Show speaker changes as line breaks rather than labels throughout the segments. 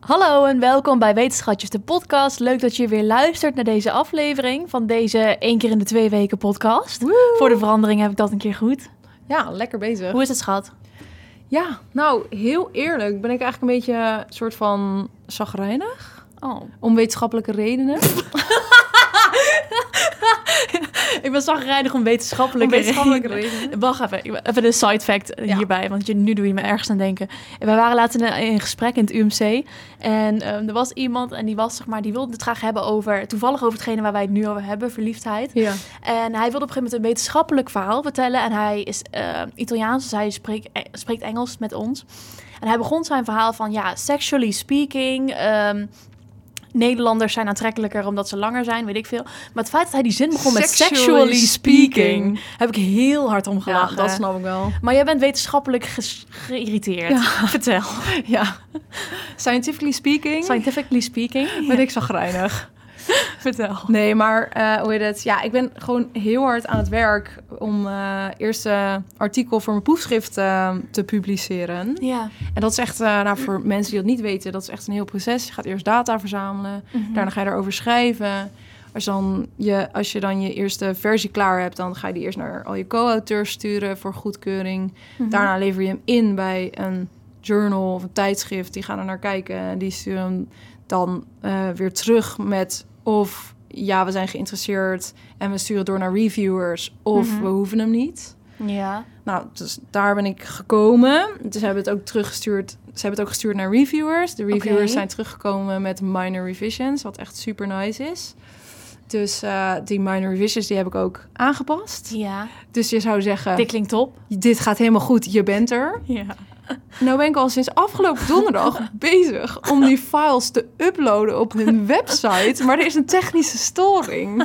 Hallo en welkom bij Wetenschatjes, de podcast. Leuk dat je weer luistert naar deze aflevering van deze één keer in de twee weken podcast. Voor de verandering heb ik dat een keer goed.
Ja, lekker bezig.
Hoe is het, schat?
Ja, nou, heel eerlijk ben ik eigenlijk een beetje eh, soort van zagrijnig.
Oh.
Om wetenschappelijke redenen.
Ik ben zagrijdig om wetenschappelijke,
redenen.
Wacht even, ik wil even de side fact eh,
Ja.
hierbij, want je, nu doe je me ergens aan denken. We waren laatst in, een- in gesprek in het UMC en ehm, er was iemand en die was zeg maar, die wilde het graag hebben over, toevallig over hetgene waar wij het nu over hebben, verliefdheid.
Ja.
En hij wilde op een gegeven moment een wetenschappelijk verhaal vertellen. En hij is eh, Italiaans, dus hij spreekt, eh, spreekt Engels met ons. En hij begon zijn verhaal van, ja, sexually speaking... ehm, Nederlanders zijn aantrekkelijker omdat ze langer zijn, weet ik veel. Maar het feit dat hij die zin begon met sexually speaking, heb ik heel hard om
Ja,
gelachen.
dat snap ik wel.
Maar jij bent wetenschappelijk ges- geïrriteerd. Vertel.
Ja. Scientifically speaking
Scientifically speaking.
ben ik zagrijnig.
Vertel.
Nee, maar eh, hoe heet het? Ja, ik ben gewoon heel hard aan het werk om eh eerst eh, artikel voor mijn proefschrift eh, te publiceren.
Ja.
En dat is echt, eh, nou voor mensen die dat niet weten, dat is echt een heel proces. Je gaat eerst data verzamelen,
Mhm.
daarna ga je erover schrijven. Als, dan je, als je dan je eerste versie klaar hebt, dan ga je die eerst naar al je co-auteurs sturen voor goedkeuring. Daarna lever je hem in bij een journal of een tijdschrift. Die gaan er naar kijken en die sturen hem dan eh, weer terug met of ja, we zijn geïnteresseerd en we sturen door naar reviewers of
Mhm.
we hoeven hem niet.
Ja.
Nou, dus daar ben ik gekomen. Dus ze hebben het ook teruggestuurd. Ze hebben het ook gestuurd naar reviewers. De reviewers
Oké.
zijn teruggekomen met minor revisions, wat echt super nice is. Dus eh, die minor revisions die heb ik ook aangepast.
Ja.
Dus je zou zeggen,
Dit klinkt top.
dit gaat helemaal goed, je bent er.
Ja.
Nou ben ik al sinds afgelopen donderdag bezig om die files te uploaden op hun website. Maar er is een technische storing.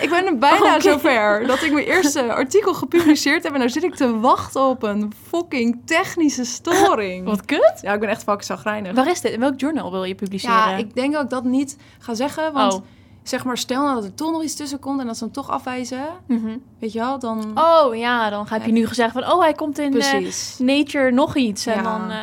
Ik ben er bijna
Oké.
zover dat ik mijn eerste artikel gepubliceerd heb. En nou zit ik te wachten op een fucking technische storing.
Wat kut.
Ja, ik ben echt fucking zagrijnig.
Waar is dit? In welk journal wil je publiceren?
Ja, ik denk dat ik dat niet ga zeggen. Want
Oh.
zeg maar, stel nou dat er toch nog iets tussen komt en dat ze hem toch afwijzen.
Mhm.
Weet je wel, dan...
Oh ja, dan heb je nu gezegd van, oh hij komt in eh,
Precies.
Nature nog iets. En
Ja.
dan, eh,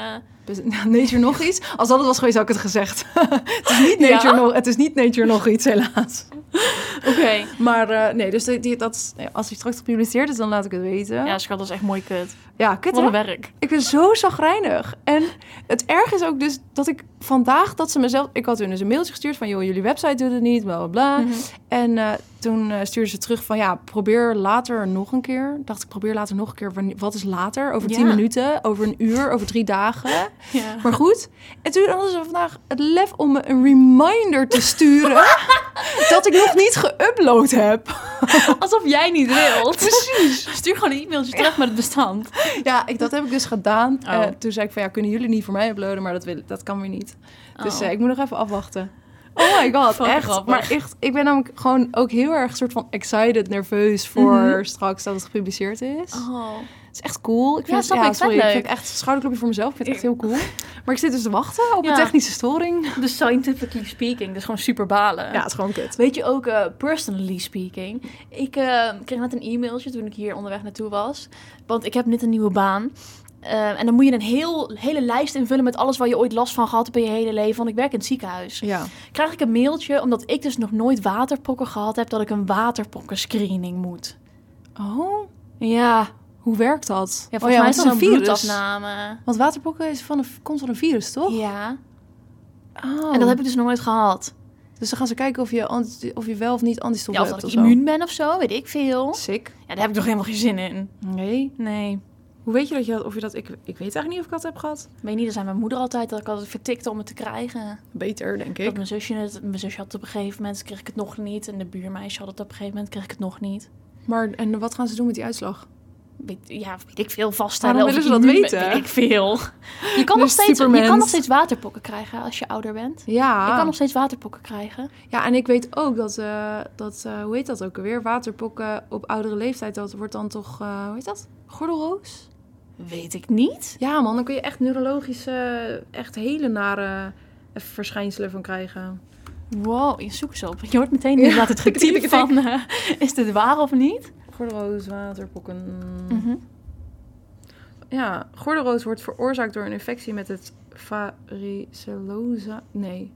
Dus- nou, Nature nog iets? Als dat het was geweest, had ik het gezegd. het, is niet nature
Ja?
nog, het is niet Nature nog iets, helaas.
oké.
Maar eh, nee, dus die, die- dat, is- nee, als hij straks gepubliceerd is, dan laat ik het weten. Ja,
Ja, schat, dat is echt mooi kut.
kut
Wat
hè?
een werk.
Ik ben zo zagrijnig. En het erg is ook dus dat ik vandaag, dat ze mezelf... Ik had hun dus een mailtje gestuurd van, joh, jullie website doet het niet, bla bla bla. En eh, toen eh stuurden ze terug van, ja, probeer later nog een keer. Dacht ik, probeer later nog een keer. Wanneer- Wat is later? Over tien
Ja.
minuten? Over een uur? Over drie dagen?
Ja.
Maar goed, en toen hadden ze vandaag het lef om me een reminder te sturen dat ik nog niet geüpload heb.
Alsof jij niet wilt.
Precies.
Stuur gewoon een e-mailtje terug met het bestand.
Ja, ik, dat heb ik dus gedaan.
Oh.
Eh, toen zei ik van ja, kunnen jullie niet voor mij uploaden, maar dat, wil, dat kan weer niet. Dus
Oh.
eh, ik moet nog even afwachten. Oh my god,
Wat
echt.
grappig.
Maar echt, ik ben namelijk gewoon ook heel erg soort van excited, nerveus voor
Mhm.
straks dat het gepubliceerd is.
Oh.
Het is echt cool. Ik vind
Ja,
het,
snap ik, vet
sorry, ik
leuk.
vind het echt een schouderklopje voor mezelf. Ik vind het echt heel cool. Maar ik zit dus te wachten op
Ja.
een technische storing.
Dus scientifically speaking, dus gewoon super balen.
Ja, het is gewoon kut.
Weet je ook, eh, personally speaking, ik eh, kreeg net een e-mailtje toen ik hier onderweg naartoe was. Want ik heb net een nieuwe baan. Eh, en dan moet je een heel, hele lijst invullen met alles waar je ooit last van gehad hebt in je hele leven. Want ik werk in het ziekenhuis.
Ja.
Krijg ik een mailtje, omdat ik dus nog nooit waterpokken gehad heb, dat ik een waterpokkenscreening moet.
Oh,
Ja,
hoe werkt dat?
ja volgens
oh, ja,
mij
want
is dat een bloedafname.
Want waterpokken is van een, komt van een virus, toch?
Ja,
Oh.
en dat heb ik dus nog nooit gehad.
Dus dan gaan ze kijken of je, anti- of je wel of niet antistof
Ja, of
hebt.
dat ik
of
immuun ben of zo, weet ik veel.
Zo. Sick.
Ja, daar heb ik toch helemaal geen zin in.
Nee.
Nee.
Hoe weet je dat je dat... Of je dat ik, ik weet eigenlijk niet of ik dat heb gehad.
Weet niet, dat zei mijn moeder altijd dat ik altijd vertikte om het te krijgen.
Beter, denk
Dat mijn zusje het, mijn zusje had het op een gegeven moment, kreeg ik het nog niet. En de buurmeisje had het op een gegeven moment, kreeg ik het nog niet.
Maar en wat gaan ze doen met die uitslag?
Weet, ja, weet ik veel vaststellen.
Waarom
of
willen
ik
ze dat
immuun ben,
weten?
Weet ik veel. Je kan,
De
nog steeds, je
Supermens. Ah.
kan nog steeds waterpokken krijgen als je ouder bent.
Ja.
Je kan nog steeds waterpokken krijgen.
Ja, en ik weet ook dat... eh, dat eh, hoe heet dat ook alweer? Waterpokken op oudere leeftijd. Dat wordt dan toch... eh, hoe heet dat? Gordelroos?
Weet ik niet.
Ja man, dan kun je echt neurologische... Echt hele nare verschijnselen van krijgen.
Wow, je zoekt ze op. Je hoort meteen inderdaad het
tik, tik,
getiep
tik.
van, eh, is dit waar of niet?
Mhm. Gordelroos, waterpokken.
Mhm.
Ja, gordelrood wordt veroorzaakt door een infectie met het varicella... Nee.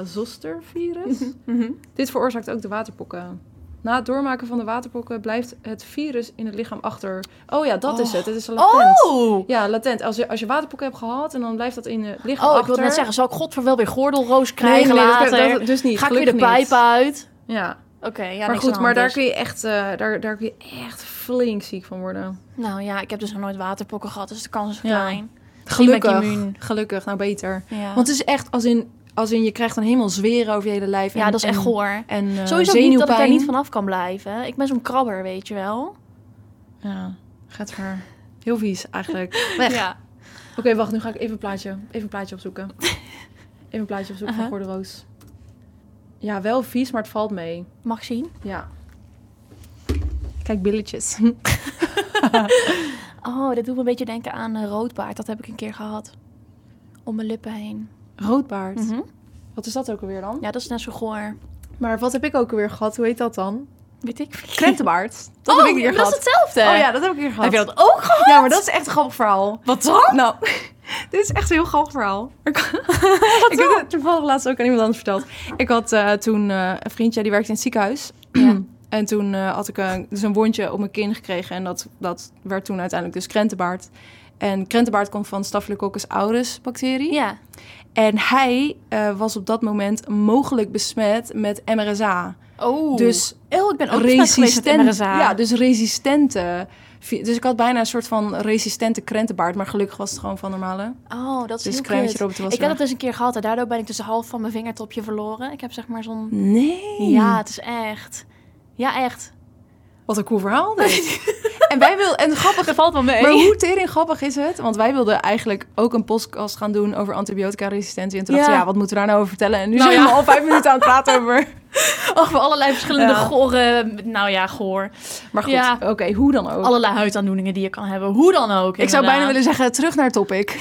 Varicella-zoster-virus.
Mhm.
Dit veroorzaakt ook de waterpokken. Na het doormaken van de waterpokken blijft het virus in het lichaam achter. Oh ja, dat is
Oh.
het. Het is latent.
Oh!
Ja, latent. Als je, als je waterpokken hebt gehad en dan blijft dat in het lichaam
Oh, ik
achter.
wilde net zeggen, zal ik godver wel weer gordelroos krijgen
nee, nee, dat-
later?
Dat, dus niet.
Ga ik weer de
Gelukkig niet.
pijp uit?
Ja,
Oké, ja,
maar
niks
goed,
aan de
maar daar
hand dus.
kun, je echt, eh, daar, daar kun je echt flink ziek van worden.
dus. Nou ja, ik heb dus nog nooit waterpokken gehad, dus de kans is
Ja.
klein. ben ik immuun.
Gelukkig. Gelukkig, nou beter.
Ja,
Want het is echt als in, als in je krijgt dan helemaal zweren over je hele lijf.
ja
en-
dat is echt
en-
goor.
En eh,
Sowieso niet dat ik daar
zenuwpijn.
niet vanaf kan blijven. Ik ben zo'n krabber, weet je wel.
Ja, gaat ver. Heel vies eigenlijk. Weg.
Ja.
Oké, wacht, nu ga ik even een plaatje, even een plaatje opzoeken. Even een plaatje opzoeken
Aha.
van Gordeloos. Ja, wel vies, maar het valt mee.
Mag zien.
Ja. Kijk, billetjes.
Oh, dit doet me een beetje denken aan eh, roodbaard. Dat heb ik een keer gehad. Om mijn lippen heen.
Roodbaard.
Mhm.
Wat is dat ook alweer dan?
Ja, dat is net zo goor.
Maar wat heb ik ook alweer gehad? Hoe heet dat dan?
Weet ik. veel.
Krentenbaard. Dat heb ik een keer
dat is
gehad.
hetzelfde.
Oh ja, dat heb ik een keer gehad.
Eh, Heb je dat ook gehad?
Ja, maar dat is echt een grappig verhaal.
Wat dan?
Nou, dit is echt een heel grappig verhaal. Ik ik heb het toevallig laatst ook aan iemand anders verteld. Ik had eh, toen eh, een vriendje, die werkte in het ziekenhuis.
Ja.
En toen eh, had ik een, dus een wondje op mijn kin gekregen. En dat, dat werd toen uiteindelijk dus krentenbaard. En krentenbaard komt van Staphylococcus aureus bacterie.
Ja.
En hij eh, was op dat moment mogelijk besmet met MRSA.
Oh.
Dus
Oh, ik ben ook besmet geweest met
resistent.
MRSA.
Ja, dus resistente. vi- Dus ik had bijna een soort van resistente krentenbaard. Maar gelukkig was het gewoon van normale.
Oh, dat is
Dus
heel
kruintje
kut.
erop, toen was
Ik heb
het
dat dus een keer gehad en daardoor ben ik dus de half van mijn vingertopje verloren. Ik heb zeg maar zo'n...
Nee.
Ja, het is echt... Ja, echt.
Wat een cool verhaal dit. en wij wilden... En grappig...
Dat valt wel mee.
Maar hoe tering grappig is het? Want wij wilden eigenlijk ook een podcast gaan doen over antibiotica-resistentie. En toen dachten we,
Ja.
ja, wat moeten we daar nou over vertellen? En nu
Nou
zijn we
ja.
al vijf minuten aan het praten over.
Over allerlei verschillende
Ja.
gore... Nou ja, goor.
Maar goed,
Ja.
oké, hoe dan ook.
Allerlei huidaandoeningen die je kan hebben. Hoe dan ook.
ik zou bijna
inderdaad.
willen zeggen, terug naar het topic.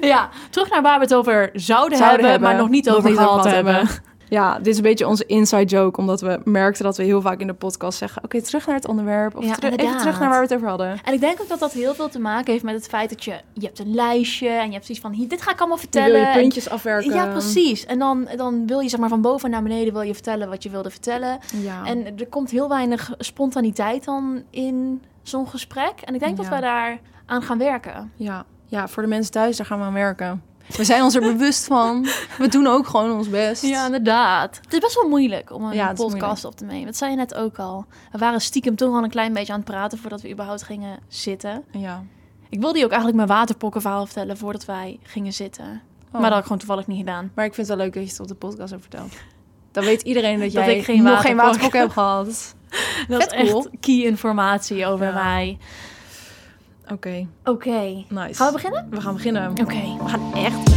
Ja, terug naar waar we het over zouden, hebben, maar nog niet over gehad hebben.
Ja, dit is een beetje onze inside joke, omdat we merkten dat we heel vaak in de podcast zeggen... Oké, terug naar het onderwerp. Of
Ja,
teru- even
inderdaad.
terug naar waar we het over hadden.
En ik denk ook dat dat heel veel te maken heeft met het feit dat je... Je hebt een lijstje en je hebt zoiets van... Hier, dit ga ik allemaal
Je
vertellen.
wil je
En-
puntjes afwerken.
Ja, precies. En dan, dan wil je zeg maar van boven naar beneden wil je vertellen wat je wilde vertellen.
Ja.
En er komt heel weinig spontaniteit dan in zo'n gesprek. En ik denk dat
Ja.
wij daar aan gaan werken.
Ja. ja, voor de mensen thuis, daar gaan we aan werken. We zijn ons er bewust van. We doen ook gewoon ons best.
inderdaad. Het is best wel moeilijk om een
Ja, het is
podcast
moeilijk.
op te nemen. Dat zei je net ook al. We waren stiekem toch al een klein beetje aan het praten voordat we überhaupt gingen zitten.
ja.
Ik wilde je ook eigenlijk mijn waterpokkenverhaal vertellen voordat wij gingen zitten.
Oh.
Maar dat had ik gewoon toevallig niet gedaan.
Maar ik vind het wel leuk dat je het op de podcast hebt verteld. Dan weet iedereen dat,
Dat
jij
ik geen
nog
waterpok-
geen waterpok hebt gehad.
Dat is
Vet cool.
echt key informatie over
Ja.
mij. Mm.
Oké,
Oké.
nice.
Gaan we beginnen?
We gaan beginnen.
Oké.
We gaan echt.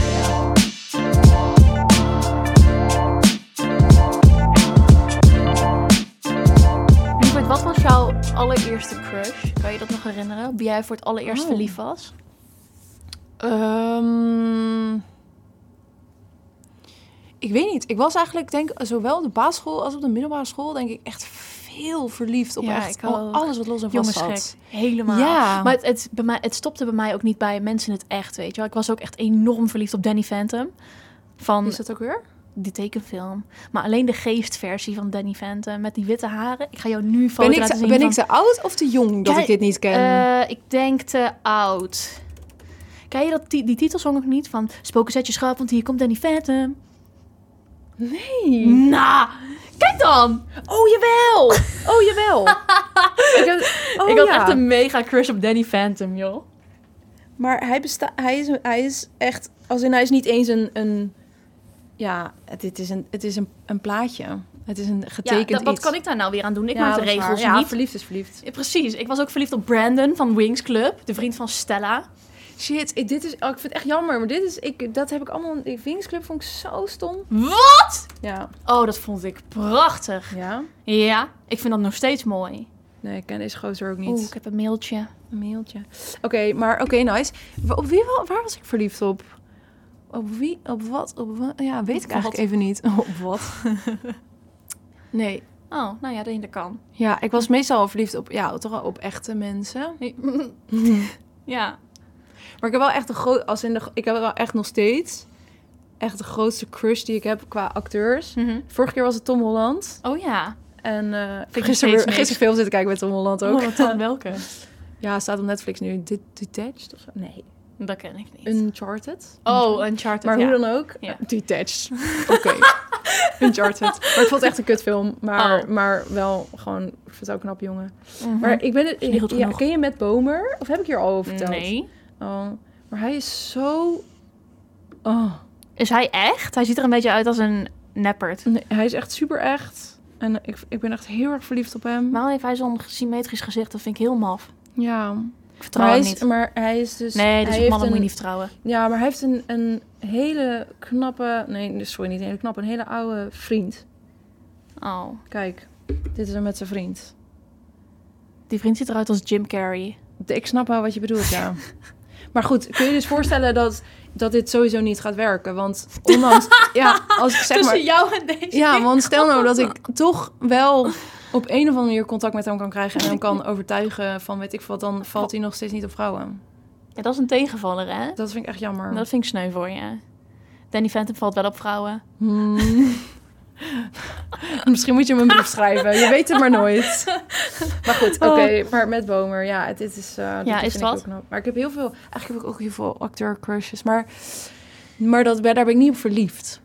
Lievert, wat was jouw allereerste crush? Kan je dat nog herinneren? Wie jij voor het allereerst
Oh.
verliefd was?
Ehm, ik weet niet. Ik was eigenlijk, denk zowel op de basisschool als op de middelbare school, denk ik echt veel verliefd op
Ja,
echt
ik ook.
alles wat los en vast
Jongensgek.
zat.
Helemaal.
Ja.
Maar het, het, bij mij, het stopte bij mij ook niet bij mensen in het echt, weet je wel. Ik was ook echt enorm verliefd op Danny Phantom. Van
Is dat ook weer?
die tekenfilm. Maar alleen de geestversie van Danny Phantom met die witte haren. Ik ga jou nu een foto
Ben ik,
laten
te,
zien
ben
van-
ik te oud of te jong dat
Jij-
ik dit niet ken?
Eh, ik denk te oud. Ken je dat, die, die titelsong ook niet? Van Spoken zet je schrap, want hier komt Danny Phantom.
nee.
Nou, kijk dan!
Oh, jawel! Oh, jawel! ik, heb, oh,
ik had
ja.
echt een mega crush op Danny Phantom, joh.
Maar hij, besta- hij, is, hij is echt... Als in, hij is niet eens een... een ja, het, dit is, een, het is een, een plaatje. Het is een
Ja,
getekend
dat, wat
iets.
kan ik daar nou weer aan doen? Ik
Ja,
maak de
dat is
regels
waar. Ja,
niet.
verliefd is verliefd.
Ja, Precies, ik was ook verliefd op Brandon van Wings Club, de vriend van Stella.
Shit, ik, dit is, oh, ik vind het echt jammer. Maar dit is... Ik, dat heb ik allemaal... Ik Wingsclub vond ik zo stom.
Wat?
Ja.
Oh, dat vond ik prachtig.
Ja?
Ja, ik vind dat nog steeds mooi.
Nee, ik ken deze gozer ook niet.
Oeh, ik heb een mailtje.
Een mailtje. Oké, maar oké, nice. Wa- Op wie, wa- waar was ik verliefd op? Op wie? Op wat? Op wat? Ja, weet ik
Op
eigenlijk
wat?
even niet. Op wat? nee,
Oh, nou ja, dat dat kan.
Ja, ik was meestal al verliefd op, ja, toch wel op echte mensen.
ja.
Maar ik heb wel echt een groot, als in de, ik heb wel echt nog steeds echt de grootste crush die ik heb qua acteurs. Vorige keer was het Tom Holland.
Mhm. Oh ja.
En eh
ik
gisteren,
steeds
weer-
niks.
gisteren film zitten kijken met Tom Holland ook.
Oh, welke?
Ja, staat op Netflix nu. Det- Detached of zo? Nee.
Dat ken ik niet.
Uncharted.
oh, Uncharted,
Mm. Maar
ja.
hoe dan ook.
Ja.
Detached. Oké. Uncharted. Maar ik vond het echt een kutfilm. Maar,
Oh.
maar wel gewoon, ik vind het ook een knap jongen.
Mhm.
Maar ik ben het...
niet goed
Ja,
genoeg.
ken je Matt Bomer? Of heb ik hier al over verteld?
Nee.
Oh, maar hij is zo... Oh,
Is hij echt? Hij ziet er een beetje uit als een neppert.
nee, hij is echt super echt. En ik, ik ben echt heel erg verliefd op hem.
Waarom heeft hij zo'n symmetrisch gezicht? Dat vind ik heel maf.
ja.
Ik
Maar
vertrouw
hij,
hem
is,
niet.
maar hij is dus...
Nee, dus
hij
op mannen
heeft
moet je
een-
niet vertrouwen.
Ja, maar hij heeft een, een hele knappe... Nee, sorry, niet een hele knappe. Een hele oude vriend.
Oh.
Kijk, dit is hem met zijn vriend.
Die vriend ziet eruit als Jim Carrey.
Ik snap wel wat je bedoelt, ja. Maar goed, kun je dus voorstellen dat, dat dit sowieso niet gaat werken? Want ondanks... Ja, als ik zeg maar...
jou en deze.
Ja, want stel nou dat ik toch wel op een of andere manier contact met hem kan krijgen... en hem kan overtuigen van weet ik veel wat, dan valt hij nog steeds niet op vrouwen.
Ja, dat is een tegenvaller, hè?
Dat vind ik echt jammer.
Dat vind ik sneu voor je. Danny Phantom valt wel op vrouwen.
Hmm. Misschien moet je hem een brief schrijven. Je weet het maar nooit. Oh. Maar goed, oké. Maar met Bomer, ja, het, dit is... eh, dit
is
vind
het
ik
wat?
ook knap. Maar ik heb heel veel... Eigenlijk heb ik ook heel veel acteur-crushes. Maar, maar dat, daar ben ik niet op verliefd.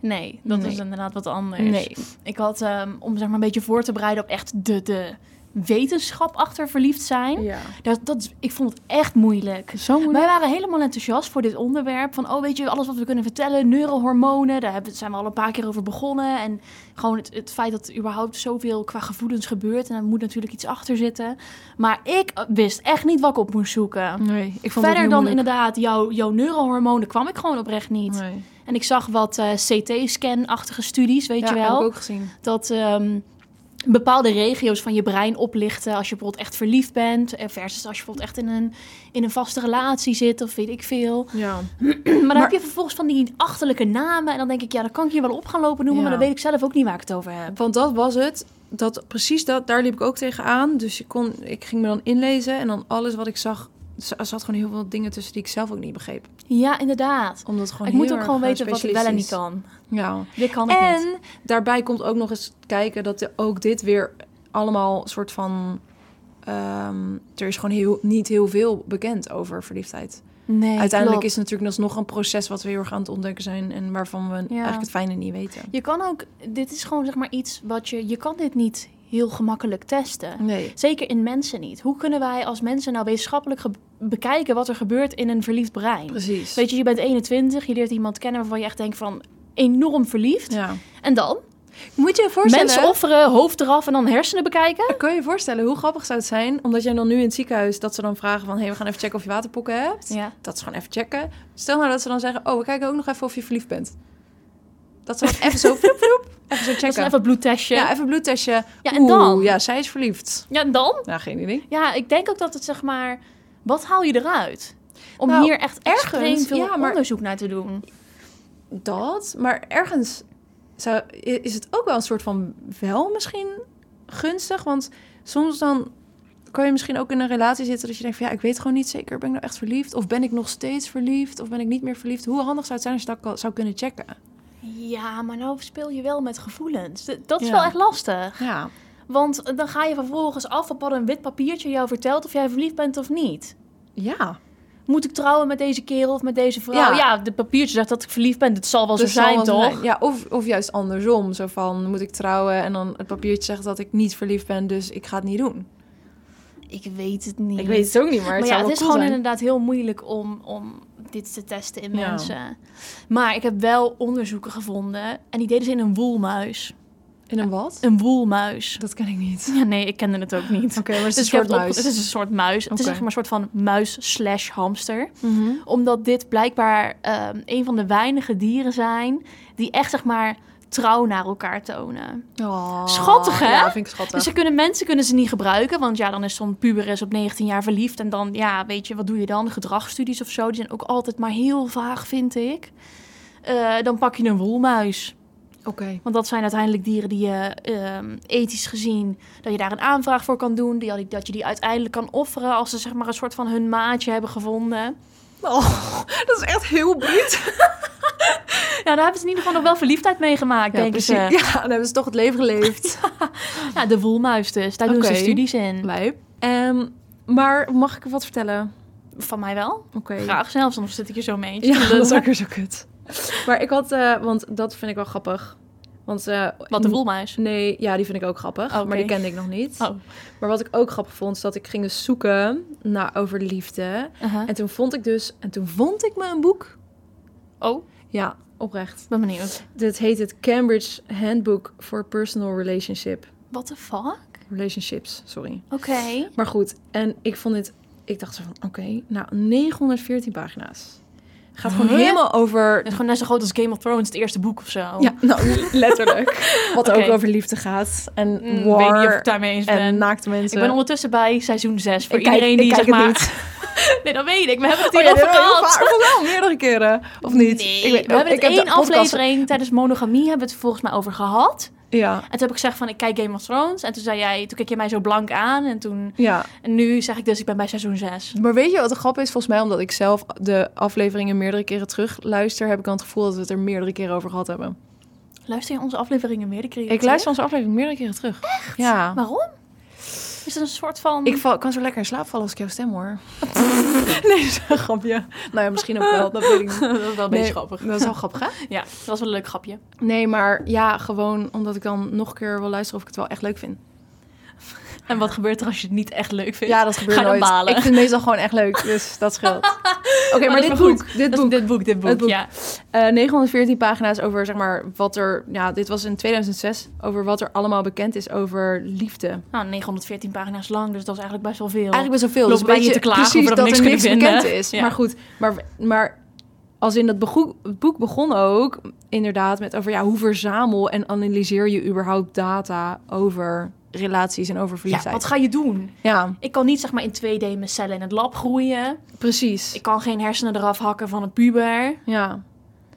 Nee, dat
Nee.
is inderdaad wat anders.
Nee.
Ik had, ehm, om zeg maar een beetje voor te bereiden op echt de, de wetenschap achter verliefd zijn.
Ja.
Dat, dat, ik vond het echt moeilijk.
Zo moeilijk.
Wij waren helemaal enthousiast voor dit onderwerp. Van, oh weet je, alles wat we kunnen vertellen, neurohormonen, daar hebben, zijn we al een paar keer over begonnen. En gewoon het, het feit dat er überhaupt zoveel qua gevoelens gebeurt. En daar moet natuurlijk iets achter zitten. Maar ik eh, wist echt niet wat ik op moest zoeken.
Nee, ik vond
Verder dan
het heel moeilijk.
inderdaad jouw, jouw neurohormonen kwam ik gewoon oprecht niet.
Nee.
En ik zag wat eh, CT-scan-achtige studies, weet je
ja,
wel
heb ik ook gezien.
dat ehm, bepaalde regio's van je brein oplichten als je bijvoorbeeld echt verliefd bent eh, versus als je bijvoorbeeld echt in een, in een vaste relatie zit of weet ik veel.
Ja.
Maar dan
Maar-
heb je vervolgens van die achterlijke namen en dan denk ik, ja, dan kan ik je wel op gaan lopen noemen,
Ja.
maar dan weet ik zelf ook niet waar ik het over heb.
Want dat was het. Dat, precies dat, daar liep ik ook tegenaan. Dus ik, kon, ik ging me dan inlezen en dan alles wat ik zag... Er zat gewoon heel veel dingen tussen die ik zelf ook niet begreep.
Ja, inderdaad.
Omdat gewoon
ik moet
heel
ook
erg eh,
gewoon weten wat ik wel en niet
specialistisch
kan.
is. Ja.
Dit kan ik niet.
En daarbij komt ook nog eens kijken dat de- ook dit weer allemaal soort van. ehm, er is gewoon heel, niet heel veel bekend over verliefdheid.
Nee,
Uiteindelijk
klopt.
is het natuurlijk alsnog een proces wat we heel erg aan het ontdekken zijn en waarvan we eigenlijk het fijne niet weten.
Je kan ook, dit is gewoon zeg maar iets wat je, je kan dit niet heel gemakkelijk testen.
Nee.
Zeker in mensen niet. Hoe kunnen wij als mensen nou wetenschappelijk ge- bekijken wat er gebeurt in een verliefd brein?
Precies.
Weet je, je bent 21, je leert iemand kennen waarvan je echt denkt van enorm verliefd.
Ja.
En dan?
Moet je je voorstellen?
Mensen offeren, hoofd eraf en dan hersenen bekijken?
Kan je je voorstellen hoe grappig zou het zijn, omdat jij dan nu in het ziekenhuis dat ze dan vragen van, hey, we gaan even checken of je waterpokken hebt.
Ja.
Dat is gewoon even checken. Stel nou dat ze dan zeggen, oh, we kijken ook nog even of je verliefd bent. Dat ze dan even zo, vloep, vloep, even zo checken.
Dat is even een bloedtestje.
Ja,
Ja,
even bloedtestje.
en dan?
Oeh,
Ja.
ja, zij is verliefd.
en dan?
Nou, geen idee.
Ja, ik denk ook dat het zeg maar, wat haal je eruit? Om
Nou,
hier echt
ergens,
extreem veel
ja, maar-
onderzoek naar te doen.
Dat, maar ergens zou, i- is het ook wel een soort van wel misschien gunstig. Want soms dan kan je misschien ook in een relatie zitten dat je denkt van... ja, ik weet gewoon niet zeker, ben ik nou echt verliefd? Of ben ik nog steeds verliefd? Of ben ik niet meer verliefd? Hoe handig zou het zijn als je dat kan- zou kunnen checken?
Ja, maar nou speel je wel met gevoelens. D- Dat is
Ja.
wel echt lastig.
Ja,
Want dan ga je vervolgens af op wat een wit papiertje jou vertelt of jij verliefd bent of niet.
ja.
Moet ik trouwen met deze kerel of met deze vrouw? Ja,
Ja.
de papiertje zegt dat ik verliefd ben. Dat zal wel
Dus
zo zijn,
zal wel
toch?
zijn. Ja, of, of juist andersom. Zo van, moet ik trouwen? En dan het papiertje zegt dat ik niet verliefd ben, dus ik ga het niet doen.
Ik weet het niet.
het ook niet, maar
Maar ja, het is gewoon inderdaad heel moeilijk om, om dit te testen in
Ja.
mensen. Maar ik heb wel onderzoeken gevonden. En die deden ze in een woelmuis.
In een wat?
Een woelmuis.
Dat ken ik niet.
Ja, nee, ik kende het ook niet.
Oké, maar het
Dus
is
ik
een
heb
soort
het opge-
muis.
Het is een soort muis. Het is
Oké.
zeg maar een soort van muis slash hamster.
Mhm.
Omdat dit blijkbaar ehm, een van de weinige dieren zijn die echt zeg maar trouw naar elkaar tonen.
Oh,
Schattig, hè?
Ja, vind ik schattig.
Dus ze kunnen, mensen kunnen ze niet gebruiken, want ja, dan is zo'n puber is op 19 jaar verliefd en dan, ja, weet je, wat doe je dan? Gedragsstudies of zo, die zijn ook altijd maar heel vaag, vind ik. Eh, dan pak je een woelmuis.
Oké.
Want dat zijn uiteindelijk dieren die je ehm, ethisch gezien... dat je daar een aanvraag voor kan doen. Die, dat je die uiteindelijk kan offeren als ze zeg maar een soort van hun maatje hebben gevonden.
Oh, dat is echt heel bruut.
Ja, daar hebben ze in ieder geval nog wel verliefdheid mee gemaakt,
Ja, dus, eh,
denken
precies. Ja,
ze.
dan hebben ze toch het leven geleefd.
Ja, de woelmuis dus. Daar doen
Oké.
ze studies in.
Lijp. Ehm, maar mag ik wat vertellen?
Van mij wel.
Oké.
Graag snel, soms zit ik hier zo mee. eens te
Ja, dat
lullen.
is ook weer zo kut. Maar ik had, eh, want dat vind ik wel grappig. Want, eh,
Wat de woelmuis.
Nee, ja, die vind ik ook grappig.
Oké.
Maar die kende ik nog niet.
Oh.
Maar wat ik ook grappig vond, is dat ik ging dus zoeken naar over liefde.
Uh-huh.
En toen vond ik dus, en toen vond ik me een boek.
Oh,
Ja, oprecht.
ik ben benieuwd.
Dit heet het Cambridge Handbook for Personal Relationship.
What the fuck?
Relationships, sorry.
Oké.
Maar goed, en ik vond dit, ik dacht zo van, oké, nou 914 pagina's. Gaat gewoon
Huh?
helemaal over
Het is gewoon net zo groot als Game of Thrones, het eerste boek of zo.
Ja, nou, letterlijk. Wat
Oké.
ook over liefde gaat. En
Mm,
war
weet niet of ik daarmee eens ben.
en naakte mensen.
Ik ben ondertussen bij seizoen 6. Voor
Ik kijk-
iedereen
ik
die
kijk
zeg
het
maar...
niet.
Nee, dat weet ik. We hebben het
Oh
hier
ja,
over
dit hebben we heel
gehad.
vaak- volgens mij al meerdere keren. Of niet?
Nee,
Ik weet-
we hebben
ik
het
heb de
één
podcast-
aflevering tijdens monogamie hebben we het volgens mij over gehad.
Ja,
En toen heb ik gezegd van ik kijk Game of Thrones. En toen zei jij, toen keek je mij zo blank aan. En toen
ja.
en nu zeg ik dus ik ben bij seizoen 6.
Maar weet je wat de grap is? Volgens mij, omdat ik zelf de afleveringen meerdere keren terug luister, heb ik dan het gevoel dat we het er meerdere keren over gehad hebben.
Luister je onze afleveringen meer? keer?
Ik luister onze aflevering meerdere keren terug. Ja.
Waarom? Is het een soort van...
Ik val- kan zo lekker in slaap vallen als ik jouw stem hoor. nee, dat is een grapje. Nou ja, misschien ook wel. Dat weet ik niet.
dat is wel een
Nee,
beetje grappig.
Dat is wel grappig, hè?
Ja, dat was wel een leuk grapje.
Nee, maar ja, gewoon omdat ik dan nog een keer wil luisteren of ik het wel echt leuk vind.
En wat gebeurt er als je het niet echt leuk vindt?
Ja, dat gebeurt
Ga je dan
nooit.
balen?
Ik vind het meestal gewoon echt leuk, dus dat scheelt. Oké, maar
dat
dit
is maar goed.
boek, dit
Dat is
boek.
dit boek, dit boek,
Het boek.
ja.
Eh, 914 pagina's over, zeg maar, wat er... Ja, dit was in 2006, over wat er allemaal bekend is over liefde.
Nou, 914 pagina's lang, dus dat is eigenlijk best wel veel.
Eigenlijk best wel veel.
Lopen
dus
wij
weet
hier
je
te klagen
precies
over
dat
dat we
er
niks
niks
kunnen
bekend
vinden?
is.
Ja.
Maar goed, maar, maar als in dat begoe- het boek begon ook inderdaad met over... Ja, hoe verzamel en analyseer je überhaupt data over relaties en over
ja,
verliefdheid?
wat ga je doen?
ja
Ik kan niet zeg maar in 2D mijn cellen in het lab groeien.
precies.
Ik kan geen hersenen eraf hakken van een puber.
Ja. Maar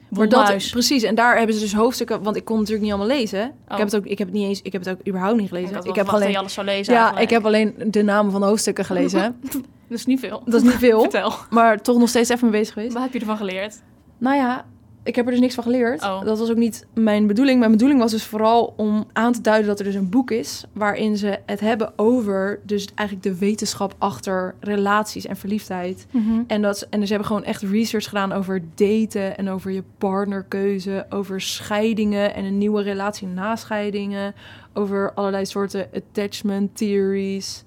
Wordt
dat, precies, en daar hebben ze dus hoofdstukken, want ik kon het natuurlijk niet allemaal lezen. Ik
Oh.
heb het ook, ik heb het niet eens, ik heb het ook überhaupt niet gelezen.
Ik,
Ik, heb alleen,
alles zou lezen.
ja,
eigenlijk.
ik heb alleen de namen van de hoofdstukken gelezen.
Dat is niet veel.
dat is niet veel,
Vertel,
maar toch nog steeds even mee bezig geweest.
wat heb je ervan geleerd?
Nou ja, ik heb er dus niks van geleerd.
Oh.
Dat was ook niet mijn bedoeling. Mijn bedoeling was dus vooral om aan te duiden dat er dus een boek is waarin ze het hebben over dus eigenlijk de wetenschap achter relaties en verliefdheid.
Mm-hmm.
En, dat, ze- en ze hebben gewoon echt research gedaan over daten en over je partnerkeuze, over scheidingen en een nieuwe relatie na scheidingen, over allerlei soorten attachment theories.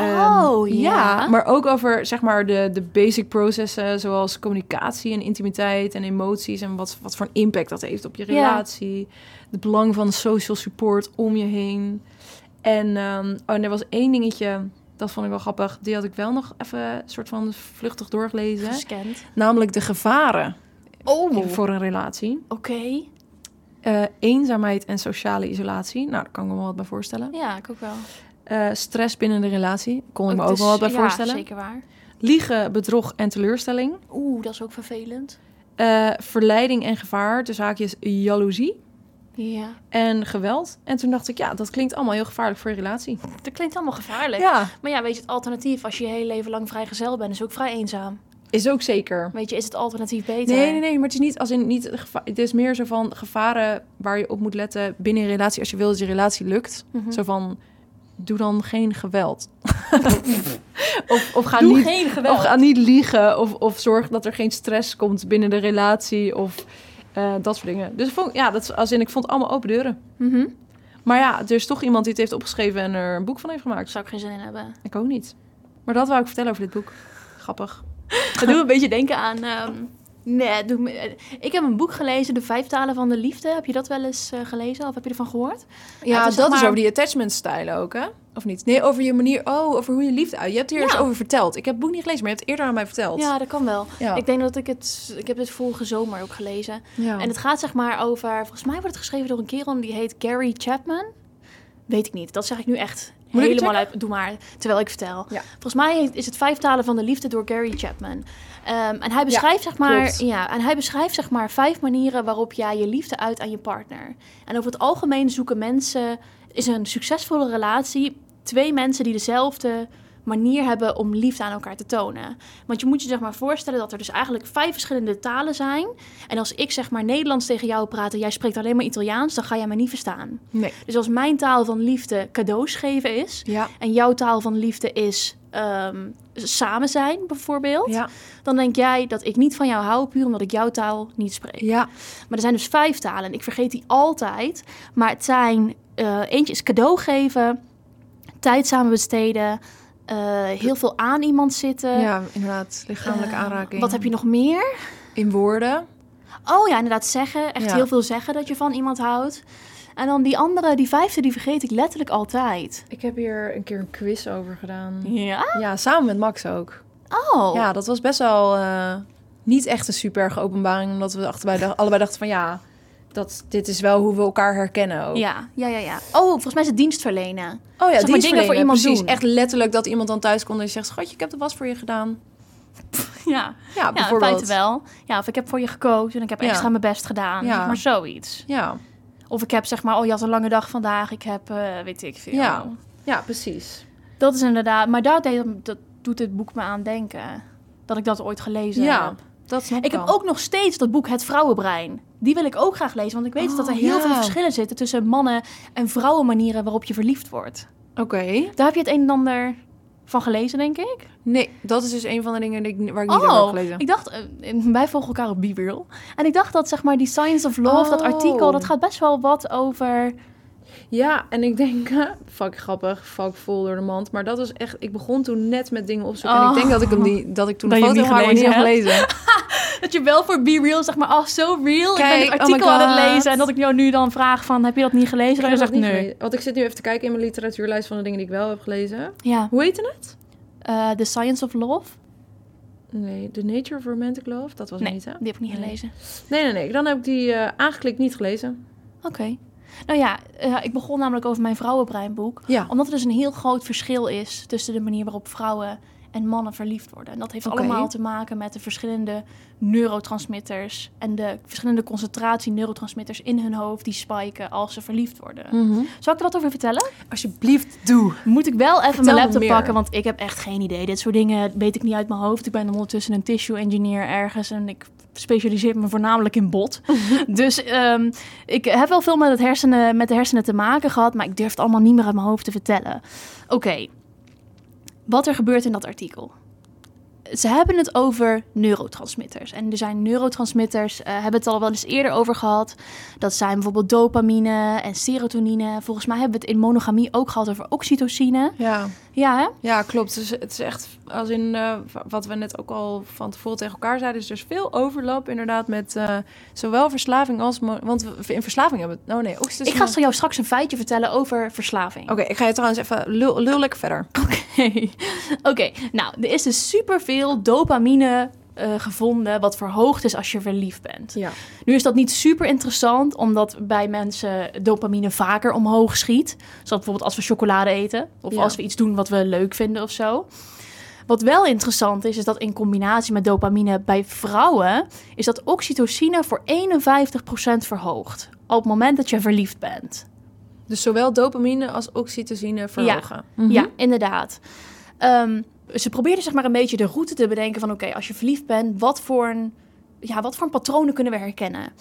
Oh,
Ehm,
ja.
Maar ook over zeg maar de, de basic processen zoals communicatie en intimiteit en emoties en wat, wat voor een impact dat heeft op je
Ja.
relatie. Het belang van social support om je heen. En, ehm, oh, en er was één dingetje, dat vond ik wel grappig, die had ik wel nog even soort van vluchtig doorgelezen.
Gescand.
Namelijk de gevaren
Oh, oké.
voor een relatie. Eh, eenzaamheid en sociale isolatie. Nou, daar kan ik me wel wat bij voorstellen.
Ja, ik ook wel.
Eh, stress binnen de relatie. Kon ik me ook
dus-
wel wat bij
ja,
voorstellen.
zeker waar.
Liegen, bedrog en teleurstelling.
Oeh, dat is ook vervelend.
Eh, verleiding en gevaar. De zaakjes jaloezie.
Ja.
En geweld. En toen dacht ik, ja, dat klinkt allemaal heel gevaarlijk voor je relatie.
Dat klinkt allemaal gevaarlijk.
Ja,
Maar ja, weet je, het alternatief als je je hele leven lang vrijgezel bent, is ook vrij eenzaam.
is ook zeker.
Weet je, is het alternatief beter?
Nee, nee, nee, maar het is niet als in niet. het geva- Het is meer zo van gevaren waar je op moet letten binnen een relatie als je wil dat je relatie lukt.
Mhm.
Zo van doe dan geen geweld. of, of ga
Doe Oh,
niet.
geen geweld.
Of ga niet liegen. Of, of zorg dat er geen stress komt binnen de relatie. Of eh, dat soort dingen. Dus ik vond, ja, dat is als in ik vond het allemaal open deuren.
Mhm.
Maar ja, er is toch iemand die het heeft opgeschreven en er een boek van heeft
Daar
gemaakt.
zou ik geen zin in hebben.
Ik ook niet. Maar dat wou ik vertellen over dit boek. Grappig.
Het doet me een beetje denken aan. ehm, nee, het doet me- eh, ik heb een boek gelezen, De Vijf Talen van de Liefde. Heb je dat wel eens eh, gelezen of heb je ervan gehoord? het
Ja, dat
is zeg
is
maar-
over die attachment stijlen ook, hè? Of niet? Nee, over je manier. Oh, over hoe je liefde uit. Je hebt hier
Ja.
eens over verteld. Ik heb het boek niet gelezen, maar je hebt het eerder aan mij verteld.
Ja, dat kan wel.
Ja.
Ik denk dat ik het. Ik heb dit vorige zomer ook gelezen.
Ja.
En het gaat zeg maar over. Volgens mij wordt het geschreven door een kerel en die heet Gary Chapman. Weet ik niet. Dat zeg ik nu echt
Moet ik het
helemaal uit. Doe maar, terwijl ik vertel.
Ja.
Volgens mij is het Vijf Talen van de Liefde door Gary Chapman. Ehm, en hij beschrijft, zeg maar,
klopt.
ja, en hij beschrijft zeg maar vijf manieren waarop jij je liefde uit aan je partner. En over het algemeen zoeken mensen, is een succesvolle relatie twee mensen die dezelfde manier hebben om liefde aan elkaar te tonen. Want je moet je zeg maar voorstellen dat er dus eigenlijk vijf verschillende talen zijn. En als ik zeg maar Nederlands tegen jou praat en jij spreekt alleen maar Italiaans, dan ga jij mij niet verstaan.
Nee.
Dus als mijn taal van liefde cadeaus geven is
Ja.
en jouw taal van liefde is ehm, samen zijn bijvoorbeeld,
Ja.
dan denk jij dat ik niet van jou hou puur omdat ik jouw taal niet spreek.
Ja.
Maar er zijn dus vijf talen en ik vergeet die altijd. Maar het zijn, eh, eentje is cadeau geven, tijd samen besteden, eh, heel veel aan iemand zitten.
ja, inderdaad. Lichamelijke
Eh,
aanraking.
Wat heb je nog meer?
In woorden.
Oh ja, inderdaad, zeggen. Echt
Ja.
heel veel zeggen dat je van iemand houdt. En dan die andere, die vijfde, die vergeet ik letterlijk altijd.
Ik heb hier een keer een quiz over gedaan.
Ja?
Ja, samen met Max ook.
Oh.
Mm. Ja, dat was best wel eh, niet echt een super erge openbaring. Omdat we achterbij dacht- allebei dachten van ja, dat, dit is wel hoe we elkaar herkennen ook.
Ja, ja, ja, ja. Oh, volgens mij is het dienst verlenen.
Oh ja,
Zeg maar
die
dingen voor iemand
precies.
doen.
Echt letterlijk dat iemand dan thuis komt en zegt... Schatje, ik heb de was voor je gedaan.
Ja,
Ja,
ja in feite
bijvoorbeeld.
wel. Ja, of ik heb voor je gekookt en ik heb
Ja.
extra mijn best gedaan.
Ja.
Zeg maar zoiets.
Ja,
Of ik heb zeg maar, oh je had een lange dag vandaag, ik heb, eh, weet ik veel.
Ja. ja precies.
Dat is inderdaad, maar daar deed, dat doet dit boek me aan denken. Dat ik dat ooit gelezen
Ja,
heb.
dat snap
Ik heb
wel.
ook nog steeds dat boek Het Vrouwenbrein. Die wil ik ook graag lezen, want ik weet
Oh,
dat er heel
ja.
veel verschillen zitten tussen mannen- en vrouwenmanieren waarop je verliefd wordt.
Oké.
Daar heb je het een en ander van gelezen, denk ik.
Nee, dat is dus een van de dingen die ik, waar ik niet over heb gelezen.
ik dacht, eh, wij volgen elkaar op B-Real. En ik dacht dat, zeg maar, die Science of Love, dat
Oh.
artikel, dat gaat best wel wat over...
Ja, en ik denk, fuck grappig, fuck vol door de mand. Maar dat was echt, ik begon toen net met dingen opzoeken. En
Oh.
ik denk dat ik, hem die, dat ik toen
Dat
een
je hem
foto
niet
van haar niet heb
gelezen
gelezen.
Dat je wel voor B-Real, zeg maar, oh, zo real. ik ben
Kijk,
het
oh
artikel
my
aan
God.
het lezen. En dat ik jou nu dan vraag van, heb je dat niet gelezen? Dat je zegt, nee.
Want ik zit nu even te kijken in mijn literatuurlijst van de dingen die ik wel heb gelezen.
Ja,
Hoe heette het?
eh, The Science of Love.
Nee, The Nature of Romantic Love. Dat was
Nee,
het niet, hè?
die heb ik niet
Nee.
gelezen.
Nee, nee, nee. Dan heb ik die eh, aangeklikt niet gelezen.
Oké. Nou ja, eh, ik begon namelijk over mijn vrouwenbreinboek.
Ja.
Omdat er dus een heel groot verschil is tussen de manier waarop vrouwen en mannen verliefd worden. En dat heeft
Oké.
allemaal te maken met de verschillende neurotransmitters en de verschillende concentratie neurotransmitters in hun hoofd die spiken als ze verliefd worden.
Mhm.
Zal ik er wat over vertellen?
Alsjeblieft, doe.
Moet ik wel even
Vertel
mijn
me
laptop
meer.
pakken, want ik heb echt geen idee. Dit soort dingen weet ik niet uit mijn hoofd. Ik ben ondertussen een tissue engineer ergens en ik specialiseer me voornamelijk in bot. dus ehm, ik heb wel veel met, het hersenen, met de hersenen te maken gehad, maar ik durf het allemaal niet meer uit mijn hoofd te vertellen. Oké, wat er gebeurt in dat artikel. Ze hebben het over neurotransmitters. En er zijn neurotransmitters, eh, hebben het al wel eens eerder over gehad. Dat zijn bijvoorbeeld dopamine en serotonine. Volgens mij hebben we het in monogamie ook gehad over oxytocine.
Ja,
Ja, hè?
ja klopt. Dus het is echt, als in eh, wat we net ook al van tevoren tegen elkaar zeiden, is er is veel overlap inderdaad met eh, zowel verslaving als... mo- Want we- in verslaving hebben we... Oh nee, oxytocine...
ik ga zo jou straks een feitje vertellen over verslaving.
Oké, ik ga je trouwens even... Lul, lul lekker verder.
Oké, Oké, nou, er is dus superveel dopamine eh, gevonden... wat verhoogd is als je verliefd bent.
Ja.
Nu is dat niet super interessant, omdat bij mensen dopamine vaker omhoog schiet. Zoals bijvoorbeeld als we chocolade eten of
Ja.
als we iets doen wat we leuk vinden of zo. Wat wel interessant is, is dat in combinatie met dopamine bij vrouwen is dat oxytocine voor 51% verhoogt. Op het moment dat je verliefd bent.
Dus zowel dopamine als oxytocine verhogen. Mhm.
Ja, inderdaad. Ehm, ze probeerden zeg maar een beetje de route te bedenken van oké, als je verliefd bent, wat voor, een, ja, wat voor een patronen kunnen we herkennen?